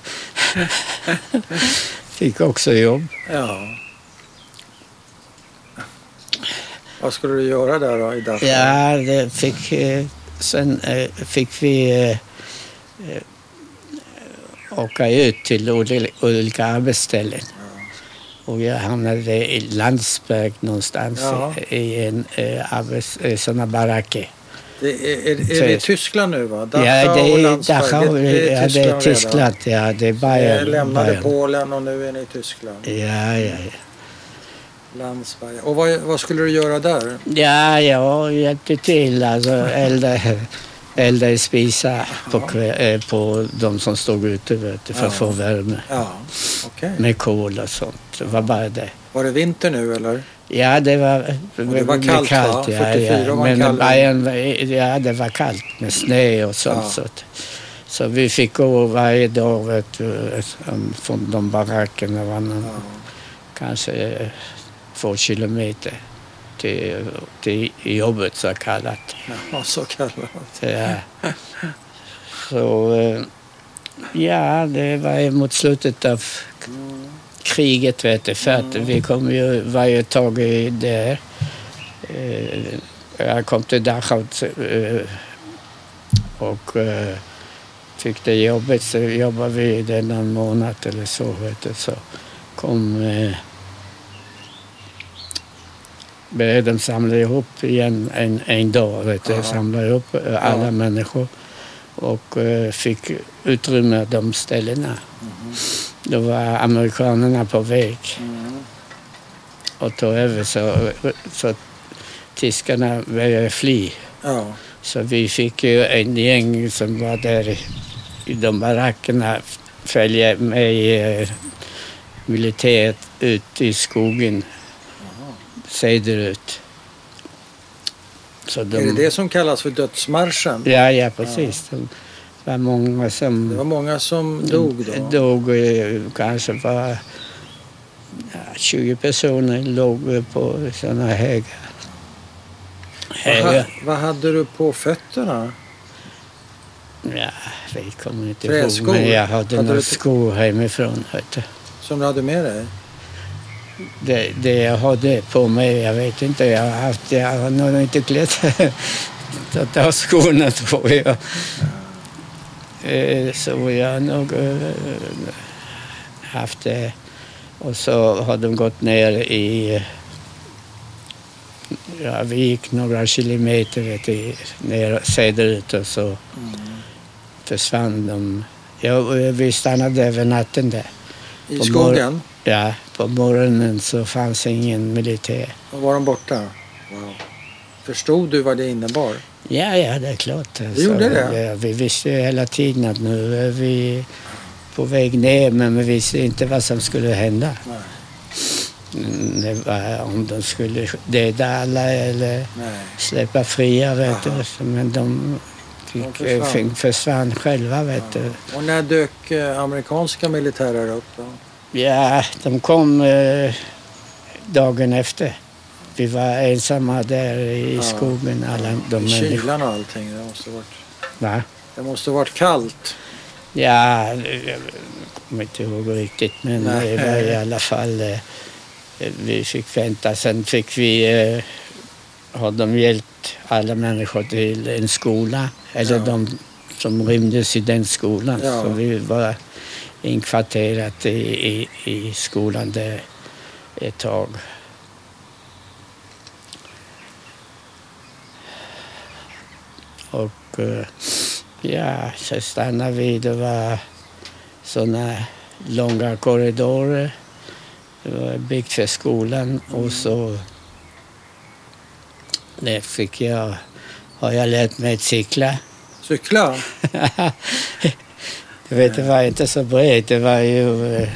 Speaker 1: *laughs* fick också jobb.
Speaker 2: Ja. Vad skulle du göra där då i Dachau?
Speaker 1: Ja, det fick, eh, sen eh, fick vi eh, eh, åka ut till oli- olika arbetsställen. Och jag hamnade i Landsberg någonstans
Speaker 2: Ja.
Speaker 1: i- i en eh, arbets, eh, såna baracker.
Speaker 2: Det är, är, är det i Tyskland nu va? Dachau
Speaker 1: ja, det
Speaker 2: och
Speaker 1: är
Speaker 2: Landsberg.
Speaker 1: Dachau,
Speaker 2: det,
Speaker 1: det, ja, det är Tyskland, ja, det är
Speaker 2: redan.
Speaker 1: Bayern.
Speaker 2: Ni lämnade
Speaker 1: Bayern.
Speaker 2: Polen och nu är ni i Tyskland.
Speaker 1: Ja, ja, ja.
Speaker 2: Landsberg. Och vad, vad skulle du göra där?
Speaker 1: Ja, jag hjälpte till. Alltså, elda, elda i spisar på, kvä- eh, på de som stod ute vet du, för att
Speaker 2: Ja.
Speaker 1: få värme.
Speaker 2: Ja, okej.
Speaker 1: Med kol och sånt. Det var bara det.
Speaker 2: Var det vinter nu eller?
Speaker 1: Ja, det var,
Speaker 2: det var kallt, va?
Speaker 1: ja,
Speaker 2: 44
Speaker 1: ja.
Speaker 2: var
Speaker 1: Men
Speaker 2: kallt.
Speaker 1: Bayern, var- ja, det var kallt med snö och sånt.
Speaker 2: Ja.
Speaker 1: Så, att- så vi fick gå varje dag vet du, eh, från de barackerna. Varannan,
Speaker 2: Ja.
Speaker 1: Kanske eh, två kilometer till, till jobbet så kallat.
Speaker 2: Ja, så kallat.
Speaker 1: Ja. eh, Så, eh, ja, det var ju mot slutet av kriget, vet du, för att vi kom ju varje tag i där. Eh, Jag kom till Dachau eh, och eh, fick det jobbet, så jobbade vi där någon månad eller så, vet du, så kom eh, började de samla ihop igen en, en dag. Vet du,
Speaker 2: Ja.
Speaker 1: samla ihop eh, alla
Speaker 2: Ja.
Speaker 1: människor och eh, fick utrymme de ställena.
Speaker 2: Mm-hmm.
Speaker 1: Då var amerikanerna på väg
Speaker 2: Mm.
Speaker 1: och tog över så, eh, så tyskarna började fly.
Speaker 2: Ja,
Speaker 1: Så vi fick ju en gäng som var där i- i de barackerna följa med eh, militäret ut i skogen söderut. Så de,
Speaker 2: är det det som kallas för dödsmarschen?
Speaker 1: Ja, ja precis. De- Det var många som
Speaker 2: Det var många som dog då.
Speaker 1: dog, eh, kanske var ja, 20 personer låg eh, på sådana höga.
Speaker 2: Vad,
Speaker 1: höga.
Speaker 2: ha- vad hade du på fötterna?
Speaker 1: Ja, vi kommer inte ihåg,
Speaker 2: Träskor?
Speaker 1: men jag hade,
Speaker 2: Hade
Speaker 1: några
Speaker 2: du-
Speaker 1: skor hemifrån. Vet du.
Speaker 2: Som du hade med dig?
Speaker 1: Det, det jag hade på mig, jag vet inte, jag har, haft, jag har nog inte klätt *laughs* att ha skorna tror jag. Eh, Så jag har nog eh, haft det. Och så har de gått ner i... Ja, vi gick några kilometer vet du, ner söderut och så försvann de. Ja, och vi stannade över natten där.
Speaker 2: I
Speaker 1: På
Speaker 2: skogen?
Speaker 1: Ja, på morgonen så fanns ingen militär.
Speaker 2: Och var de borta? Wow. Förstod du vad det innebar?
Speaker 1: Ja, ja, det är klart. Alltså,
Speaker 2: gjorde det?
Speaker 1: Ja, vi visste ju hela tiden att nu är vi på väg ner, men vi visste inte vad som skulle hända.
Speaker 2: Nej.
Speaker 1: Mm, Det var om de skulle döda alla eller
Speaker 2: Nej.
Speaker 1: släppa fria, vet
Speaker 2: Aha.
Speaker 1: du. Men de
Speaker 2: De
Speaker 1: fick,
Speaker 2: försvann.
Speaker 1: försvann. försvann själva, vet du.
Speaker 2: Och när dök eh, amerikanska militärer upp då?
Speaker 1: Ja, de kom eh, dagen efter. Vi var ensamma där i
Speaker 2: Ja.
Speaker 1: skogen, alla de
Speaker 2: I
Speaker 1: människorna.
Speaker 2: kylan och allting. Det måste ha varit,
Speaker 1: Va?
Speaker 2: det måste ha varit kallt.
Speaker 1: Ja, jag kommer inte ihåg riktigt, men
Speaker 2: Nej.
Speaker 1: det var i alla fall... eh, Vi fick vänta. Sen fick vi... eh, Har de hjälpt alla människor till en skola? Eller
Speaker 2: Ja.
Speaker 1: de som rymdes i den skolan.
Speaker 2: Ja.
Speaker 1: Så vi var inkvarterat i, i, i skolan där ett tag. Och eh, ja, så stannade vi. Det var sådana långa korridorer. Det var byggt för skolan och så det fick jag, har jag lärt mig att cykla.
Speaker 2: Cykla?
Speaker 1: *laughs* Du vet, det var inte så brett. Det var ju eh,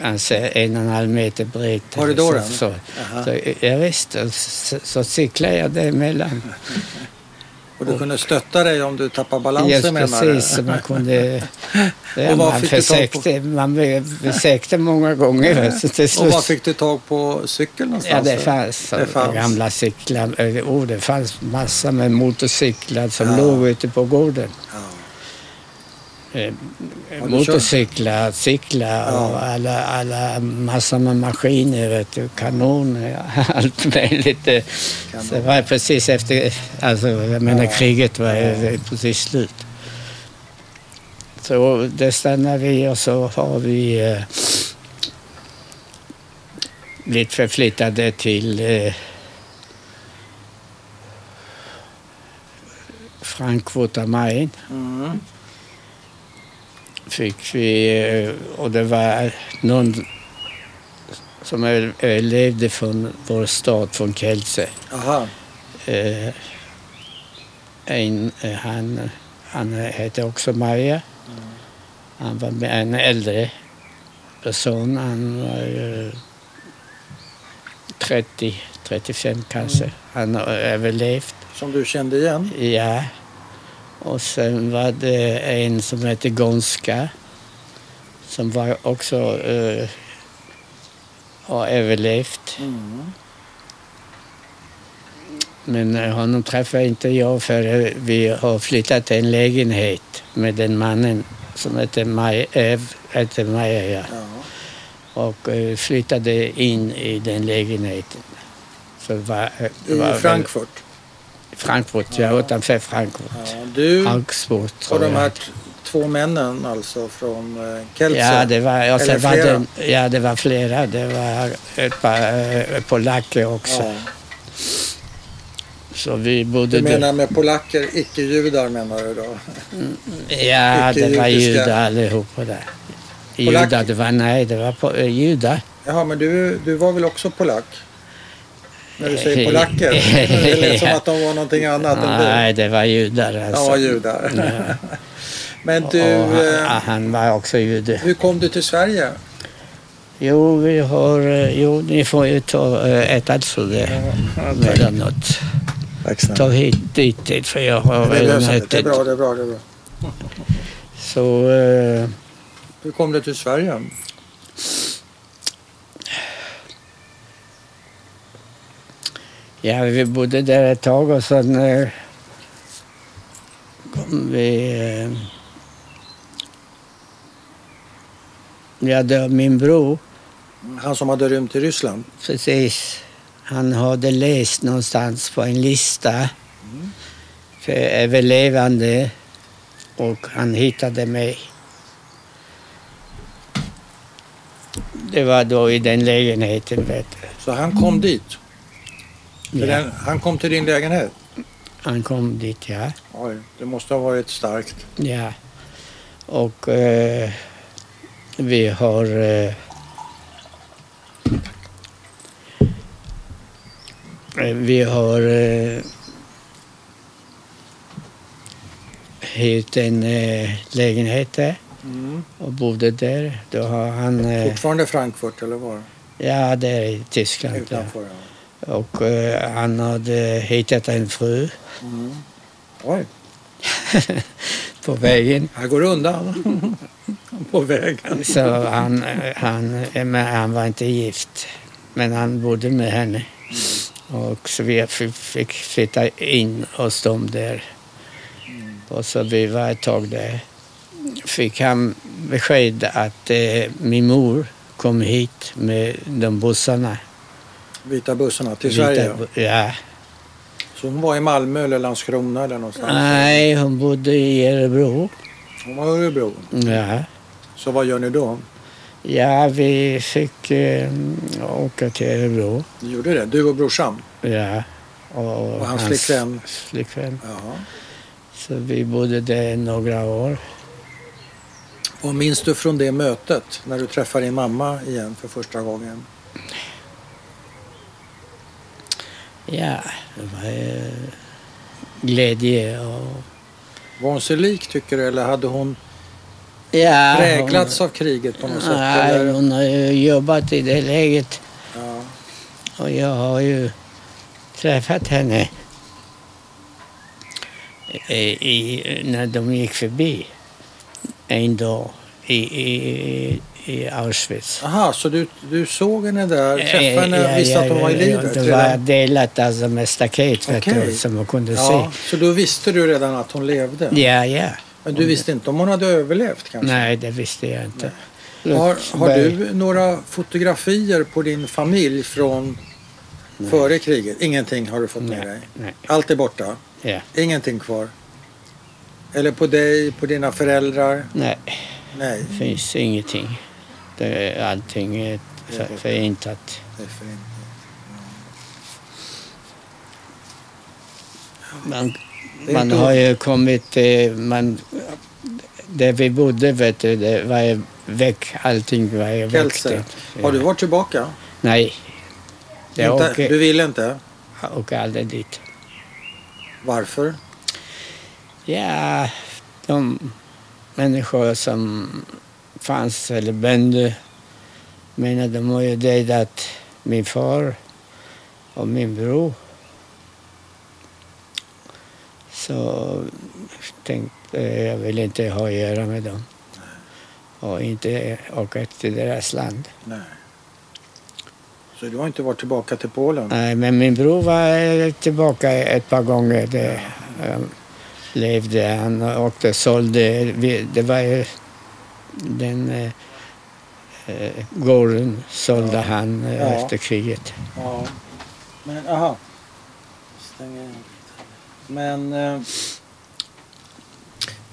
Speaker 1: kanske en och en halv meter brett.
Speaker 2: Korridoren?
Speaker 1: Så, så,
Speaker 2: Aha.
Speaker 1: så, ja, visst, och så, så cyklade jag däremellan.
Speaker 2: Och du kunde stötta dig om du tappade
Speaker 1: Just
Speaker 2: balansen menar du?
Speaker 1: precis, så man kunde... Ja,
Speaker 2: *laughs* Och vad
Speaker 1: man,
Speaker 2: fick du tag på?
Speaker 1: försökte, man försökte många gånger. Så till
Speaker 2: Och
Speaker 1: slut
Speaker 2: var fick du tag på cykeln
Speaker 1: Ja,
Speaker 2: någonstans?
Speaker 1: det
Speaker 2: då?
Speaker 1: fanns,
Speaker 2: Det fanns.
Speaker 1: gamla cyklar. Eh, Oh, det fanns massor med motorcyklar som
Speaker 2: Ja.
Speaker 1: låg ute på gården.
Speaker 2: Ja.
Speaker 1: eh,
Speaker 2: kör-
Speaker 1: motorcyklar, cyklar
Speaker 2: Ja.
Speaker 1: och alla, alla massor med maskiner, vet du, kanoner, *laughs* allt möjligt. eh.
Speaker 2: Kanon.
Speaker 1: Så det var precis efter, alltså jag menar
Speaker 2: Ja.
Speaker 1: kriget var ju precis slut. Så det stannar vi och så har vi eh, blivit förflyttade till eh, Frankfurt am Main
Speaker 2: Mm.
Speaker 1: fick vi eh, och det var någon som överlevde från vår stad, från Kielce.
Speaker 2: Aha.
Speaker 1: Eh, en, eh, han, han hette också Maja. Han var med- en äldre person. Han var eh, ju 30, 35 kanske. Han har överlevt.
Speaker 2: Som du kände igen?
Speaker 1: Ja. Och sen var det en som hette Gonska som var också eh, har överlevt.
Speaker 2: Mm.
Speaker 1: Men eh, honom träffade inte jag för vi har flyttat till en lägenhet med den mannen som hette Maja, äh, hette Maja ja.
Speaker 2: Ja.
Speaker 1: och eh, flyttade in i den lägenheten. Så det var, eh, det var
Speaker 2: I
Speaker 1: väl-
Speaker 2: Frankfurt?
Speaker 1: Frankfurt, ja, utanför Frankfurt.
Speaker 2: Ja. Du
Speaker 1: Augsburg
Speaker 2: Mm. och
Speaker 1: tror
Speaker 2: de
Speaker 1: jag.
Speaker 2: här t- två männen alltså från eh, Kelce?
Speaker 1: Ja, det var, och sen
Speaker 2: Eller
Speaker 1: var
Speaker 2: flera?
Speaker 1: det, ja, det var flera. Det var ett par eh, polacker också.
Speaker 2: Ja.
Speaker 1: Så vi bodde
Speaker 2: Du menar
Speaker 1: där.
Speaker 2: med polacker, icke-judar menar du då?
Speaker 1: Ja, det var
Speaker 2: icke-judiska?
Speaker 1: judar allihopa där.
Speaker 2: Polacker?
Speaker 1: Judar, det var, nej, det var po- eh, judar.
Speaker 2: Jaha, men du, du var väl också polack? När du säger
Speaker 1: Eh,
Speaker 2: polacker? Det lät som att de var någonting annat än du.
Speaker 1: Nej, det var judar alltså.
Speaker 2: Ja, judar. *laughs* Men du,
Speaker 1: och han,
Speaker 2: eh,
Speaker 1: han var också jude.
Speaker 2: hur kom du till Sverige?
Speaker 1: Jo, vi har, eh, jo, ni får ju ta eh, ett alltså det mellanåt.
Speaker 2: Tack
Speaker 1: Ta hit dit, dit, för jag
Speaker 2: Det
Speaker 1: har redan
Speaker 2: behövs inte.
Speaker 1: hett
Speaker 2: Det är
Speaker 1: ett.
Speaker 2: bra, det är bra, det är bra.
Speaker 1: Så... Eh,
Speaker 2: Hur kom du till Sverige?
Speaker 1: Ja, vi bodde där ett tag och sen eh, kom vi... Eh, ja, det var min bror,
Speaker 2: Han som hade rymt till Ryssland?
Speaker 1: precis. Han hade läst någonstans på en lista för överlevande och han hittade mig. Det var då i den lägenheten, vet du.
Speaker 2: Så han kom dit? Till
Speaker 1: Ja.
Speaker 2: den, han kom till din lägenhet?
Speaker 1: Han kom dit, ja.
Speaker 2: Oj, det måste ha varit starkt.
Speaker 1: Ja. Och eh, vi har... Eh, eh, vi har eh, hyrt en eh, lägenhet där och bodde där. Då har han... Eh,
Speaker 2: Mm. Fortfarande Frankfurt eller var?
Speaker 1: ja, där i Tyskland. Ja.
Speaker 2: Utanför? Ja.
Speaker 1: Och eh, han hade hittat en fru *laughs*
Speaker 2: Mm. Oj,
Speaker 1: på vägen.
Speaker 2: här går det undan. *laughs* På vägen.
Speaker 1: Så han, han, men han var inte gift, men han bodde med henne. Och så vi f- fick flytta in hos dem där. Och så vi var ett tag där. Fick han besked att eh, min mor kom hit med de bussarna.
Speaker 2: Vita bussarna till
Speaker 1: Vita
Speaker 2: Sverige.
Speaker 1: bu- Ja.
Speaker 2: Så hon var i Malmö eller Landskrona eller någonstans?
Speaker 1: Nej, hon bodde i Örebro.
Speaker 2: Hon var i Örebro.
Speaker 1: Ja.
Speaker 2: Så vad gör ni då?
Speaker 1: Ja, vi fick eh, åka till Örebro.
Speaker 2: Ni gjorde det, du och brorsan?
Speaker 1: Ja. Och,
Speaker 2: Och hans flickvän?
Speaker 1: flickvän.
Speaker 2: Ja.
Speaker 1: Så vi bodde där några år.
Speaker 2: Och minns du från det mötet när du träffar din mamma igen för första gången?
Speaker 1: Ja, det var eh, glädje och...
Speaker 2: Var hon sig lik tycker du eller hade hon
Speaker 1: Ja,
Speaker 2: präglats av kriget på
Speaker 1: hon,
Speaker 2: något sätt?
Speaker 1: nej,
Speaker 2: eller?
Speaker 1: hon har ju jobbat i det läget
Speaker 2: Ja.
Speaker 1: och jag har ju träffat henne i, i, när de gick förbi en dag i, i, i Auschwitz.
Speaker 2: Aha, så du, du såg henne där, träffade henne,
Speaker 1: Eh, Ja, ja,
Speaker 2: visste att hon
Speaker 1: ja,
Speaker 2: var i
Speaker 1: ja,
Speaker 2: livet?
Speaker 1: Det var
Speaker 2: redan?
Speaker 1: delat alltså med staket vet
Speaker 2: Okej.
Speaker 1: du, som man kunde se.
Speaker 2: ja, så då visste du redan att hon levde?
Speaker 1: Ja, ja.
Speaker 2: Men du visste inte om hon hade överlevt kanske?
Speaker 1: Nej, det visste jag inte.
Speaker 2: Har, har du några fotografier på din familj från före kriget? Ingenting har du fått med dig?
Speaker 1: Nej, nej,
Speaker 2: Allt är borta?
Speaker 1: ja,
Speaker 2: Ingenting kvar? Eller på dig, på dina föräldrar?
Speaker 1: nej,
Speaker 2: Nej,
Speaker 1: det finns ingenting. Det är allting är för, förintat.
Speaker 2: det är för inte.
Speaker 1: Man,
Speaker 2: Det är
Speaker 1: man
Speaker 2: inte-
Speaker 1: har ju kommit... eh, Man, där vi bodde, vet du, det var ju väck. Allting var ju väckt.
Speaker 2: Kelser. Har du varit tillbaka?
Speaker 1: Nej. Jag
Speaker 2: inte, Du
Speaker 1: åker,
Speaker 2: vill inte?
Speaker 1: jag åker aldrig dit.
Speaker 2: Varför?
Speaker 1: Ja, de människor som fanns, eller bönder, menar de har ju dödat min far och min bror. Så tänkte jag, jag vill inte ha att göra med dem. Och inte åka till deras land.
Speaker 2: Nej. Så du har inte varit tillbaka till Polen?
Speaker 1: Nej, men min bror var eh, tillbaka ett par gånger. Det, han levde, han åkte och sålde. Vi- Det var ju den eh, eh, gården sålde han eh,
Speaker 2: Ja.
Speaker 1: efter kriget.
Speaker 2: Ja. Men, aha. Stänger in. Men... eh,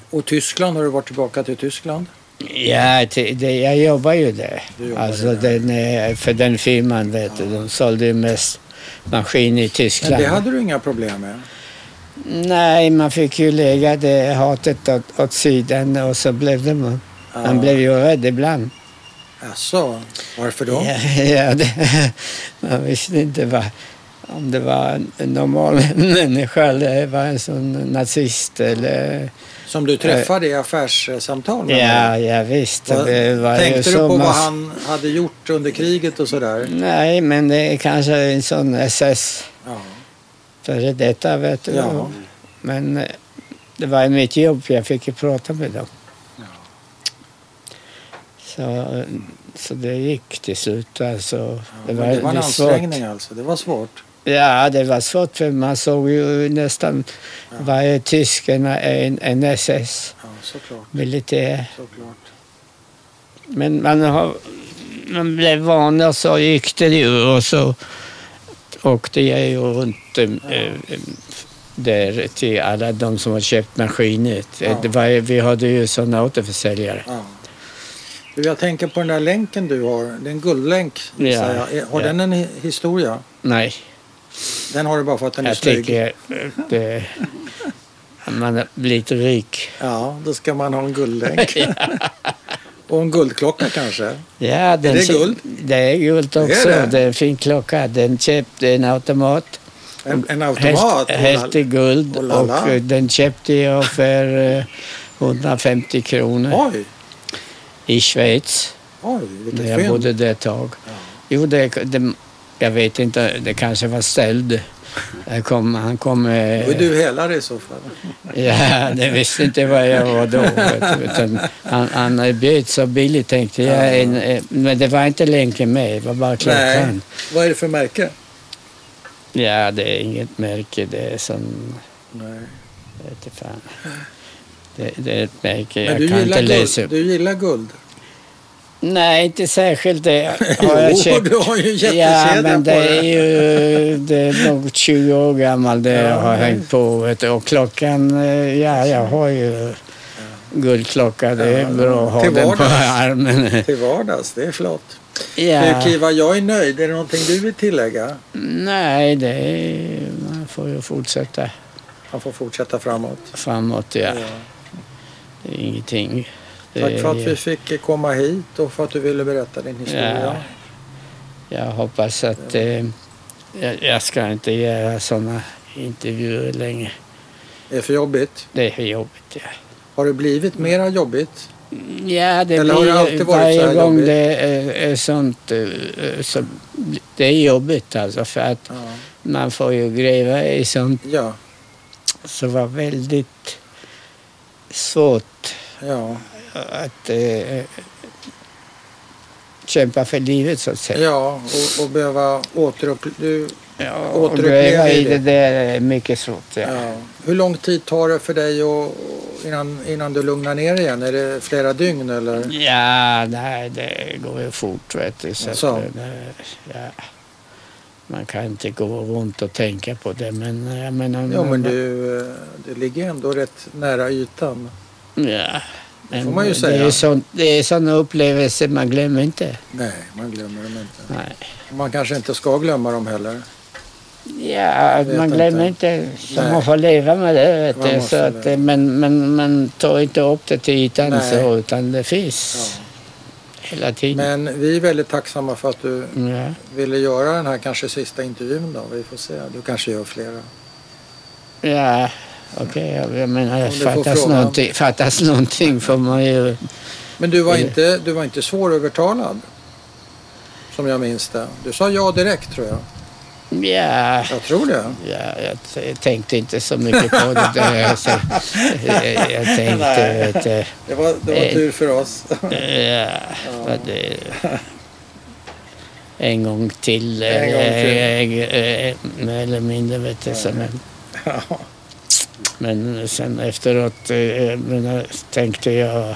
Speaker 2: Och Tyskland, har du varit tillbaka till Tyskland?
Speaker 1: Ja, det, det, jag jobbar ju där.
Speaker 2: Du jobbar
Speaker 1: Alltså
Speaker 2: där.
Speaker 1: den, eh, för den firman vet du, de sålde ju mest maskiner i
Speaker 2: Men
Speaker 1: Tyskland.
Speaker 2: det hade du inga problem med?
Speaker 1: Nej, man fick ju lägga det hatet åt, åt sidan och så blev det... Man, man blev ju rädd ibland.
Speaker 2: Jaså, varför då?
Speaker 1: Ja, *laughs* ja det, man visste inte vad, om det var en normal *laughs* människa eller det var en sån nazist eller...
Speaker 2: Som du träffade i affärssamtal med
Speaker 1: Ja,
Speaker 2: honom?
Speaker 1: ja visst.
Speaker 2: Vad-
Speaker 1: det var ju
Speaker 2: Tänkte du
Speaker 1: så
Speaker 2: på vad
Speaker 1: mass-
Speaker 2: han hade gjort under kriget och sådär?
Speaker 1: Nej, men det är kanske en sån SS
Speaker 2: Ja.
Speaker 1: före detta, vet du.
Speaker 2: Ja.
Speaker 1: Men eh, det var ju mitt jobb, jag fick ju prata med dem. Så, eh, så det gick till slut. Alltså,
Speaker 2: Det var, det var en
Speaker 1: lite svårt.
Speaker 2: ansträngning alltså, det var svårt.
Speaker 1: Ja, det var svårt för man såg ju nästan varje tysk en, en, en
Speaker 2: Ja, såklart.
Speaker 1: SS-militär.
Speaker 2: såklart.
Speaker 1: Men man, har, man blev van och så gick det ju och så åkte jag ju runt eh, eh, där till alla de som har köpt maskiner.
Speaker 2: Ja.
Speaker 1: Det var, ju- vi hade ju sådana återförsäljare.
Speaker 2: Ja. Du, jag tänker på den där länken du har, det är en guldlänk.
Speaker 1: Ja,
Speaker 2: gissar jag. Är- Har
Speaker 1: ja.
Speaker 2: den en hi- historia?
Speaker 1: Nej,
Speaker 2: Den har du bara för att den är
Speaker 1: jag
Speaker 2: snygg?
Speaker 1: tycker eh, det, man har blivit rik.
Speaker 2: Ja, då ska man ha
Speaker 1: *laughs*
Speaker 2: en guldlänk. och en guldklocka kanske?
Speaker 1: Ja, den
Speaker 2: det
Speaker 1: kö-
Speaker 2: guld?
Speaker 1: Det är guld också. Det
Speaker 2: det?
Speaker 1: är, en fin klocka. Den köpte en automat.
Speaker 2: En, en automat?
Speaker 1: Helt, helt i guld.
Speaker 2: Och
Speaker 1: Och,
Speaker 2: lalla.
Speaker 1: eh, den köpte jag för eh, 150 kronor
Speaker 2: Oj,
Speaker 1: i Schweiz.
Speaker 2: oj,
Speaker 1: När
Speaker 2: vilket
Speaker 1: jag
Speaker 2: fynd.
Speaker 1: bodde där ett tag. Jo, det, det, jag vet inte. Det kanske var stöld. Jag Kom, han kom... eh,
Speaker 2: Då är du hela i så fall.
Speaker 1: *laughs* Ja, det visste inte vad jag var då. vet du, Utan han, han bjöd så billigt tänkte jag. En, eh, men det var inte länken med, det var bara klockan.
Speaker 2: Nej, vad är det för märke?
Speaker 1: Ja, det är inget märke. Det är som...
Speaker 2: Nej.
Speaker 1: Jag vet inte fan. Det, det är ett märke
Speaker 2: Men
Speaker 1: jag
Speaker 2: du
Speaker 1: kan
Speaker 2: gillar,
Speaker 1: inte läsa
Speaker 2: guld,
Speaker 1: upp.
Speaker 2: du gillar guld?
Speaker 1: Nej, inte särskilt. Det har jag
Speaker 2: *laughs* Jo,
Speaker 1: köpt.
Speaker 2: du har ju en jättekedja
Speaker 1: Ja, men
Speaker 2: på
Speaker 1: det är
Speaker 2: dig.
Speaker 1: ju det är nog 20 år gammal det jag har
Speaker 2: Ja.
Speaker 1: hängt på. Vet du. Och klockan, eh, ja, jag har ju guldklocka. Det
Speaker 2: Ja,
Speaker 1: är bra att ha
Speaker 2: till
Speaker 1: den på
Speaker 2: vardags.
Speaker 1: armen.
Speaker 2: Till vardags, det är flott. Du
Speaker 1: Ja.
Speaker 2: Kiva, jag är nöjd. Är det någonting du vill tillägga?
Speaker 1: Nej, det är, man får ju fortsätta
Speaker 2: Man får fortsätta framåt.
Speaker 1: framåt. Ja.
Speaker 2: Ja.
Speaker 1: Det är ingenting. Det
Speaker 2: Tack för
Speaker 1: är-
Speaker 2: att vi fick komma hit och för att du ville berätta din historia.
Speaker 1: Jag hoppas att eh, jag, jag ska inte göra sådana intervjuer längre.
Speaker 2: Det är för jobbigt.
Speaker 1: Det är för jobbigt. Ja,
Speaker 2: Har det blivit mera jobbigt?
Speaker 1: ja det
Speaker 2: Eller har det alltid
Speaker 1: blir
Speaker 2: varit så här
Speaker 1: varje gång
Speaker 2: jobbigt?
Speaker 1: det är, är sånt eh, eh, så bli- det är jobbigt alltså för att
Speaker 2: Ja.
Speaker 1: man får ju gräva i sånt
Speaker 2: Ja.
Speaker 1: som var väldigt svårt
Speaker 2: ja.
Speaker 1: att eh, kämpa för livet så att säga.
Speaker 2: ja. Och, och behöva återuppleva... Du...
Speaker 1: Ja, och
Speaker 2: återuppleva
Speaker 1: gräva
Speaker 2: i
Speaker 1: i
Speaker 2: det.
Speaker 1: det där är mycket svårt. Ja.
Speaker 2: Ja. Hur lång tid tar det för dig att innan, innan du lugnar ner igen? Är det flera dygn eller?
Speaker 1: Ja, nej, det går ju fort vet du. Så att,
Speaker 2: Så.
Speaker 1: eh, det- ja. Man kan inte gå runt och tänka på det men eh, jag menar...
Speaker 2: Jo men du, eh, det ligger ändå rätt nära ytan.
Speaker 1: Ja.
Speaker 2: Det får man ju
Speaker 1: det
Speaker 2: säga.
Speaker 1: Är sånt, det är sådana upplevelser man glömmer inte.
Speaker 2: Nej, man glömmer dem inte.
Speaker 1: Nej.
Speaker 2: Man kanske inte ska glömma dem
Speaker 1: Mm.
Speaker 2: heller.
Speaker 1: Ja,
Speaker 2: vet
Speaker 1: man glömmer inte. Så
Speaker 2: Nej.
Speaker 1: man får leva med det. Vet
Speaker 2: Man
Speaker 1: du. Så
Speaker 2: måste
Speaker 1: att, eh, men, men man tar inte upp det till ytan
Speaker 2: Nej.
Speaker 1: så, utan det
Speaker 2: Ja.
Speaker 1: finns hela tiden.
Speaker 2: Men vi är väldigt tacksamma för att du
Speaker 1: Ja.
Speaker 2: ville göra den här kanske sista intervjun då. Vi får se. Du kanske gör flera.
Speaker 1: Ja, okej. jag- Jag menar,
Speaker 2: Om du får
Speaker 1: fattas
Speaker 2: frågan.
Speaker 1: någonting, fattas någonting får man ju...
Speaker 2: Men du var
Speaker 1: Eller-
Speaker 2: inte, du var inte svårövertalad? Som jag minns det. Du sa ja direkt tror jag.
Speaker 1: Ja,
Speaker 2: Jag tror det.
Speaker 1: ja jag, t- jag tänkte inte så mycket på det där. Så, jag, jag tänkte... eh,
Speaker 2: Nej.
Speaker 1: Vet, du,
Speaker 2: Det var, det
Speaker 1: var tur
Speaker 2: för oss.
Speaker 1: Ja, vad det... eh, En gång till.
Speaker 2: En
Speaker 1: eh,
Speaker 2: gång till.
Speaker 1: eh, eh, mer eller mindre vet jag. Så, men, men sen efteråt eh, men, jag tänkte jag...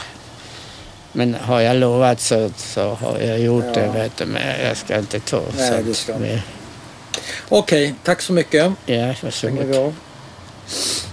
Speaker 1: Men har jag lovat så, så har jag gjort
Speaker 2: Ja.
Speaker 1: det. Vet du, men jag ska inte ta
Speaker 2: Nej,
Speaker 1: sånt.
Speaker 2: du ska inte.
Speaker 1: mer.
Speaker 2: Okej, tack så mycket.
Speaker 1: Ja,
Speaker 2: Stänger
Speaker 1: varsågod.
Speaker 2: vi av.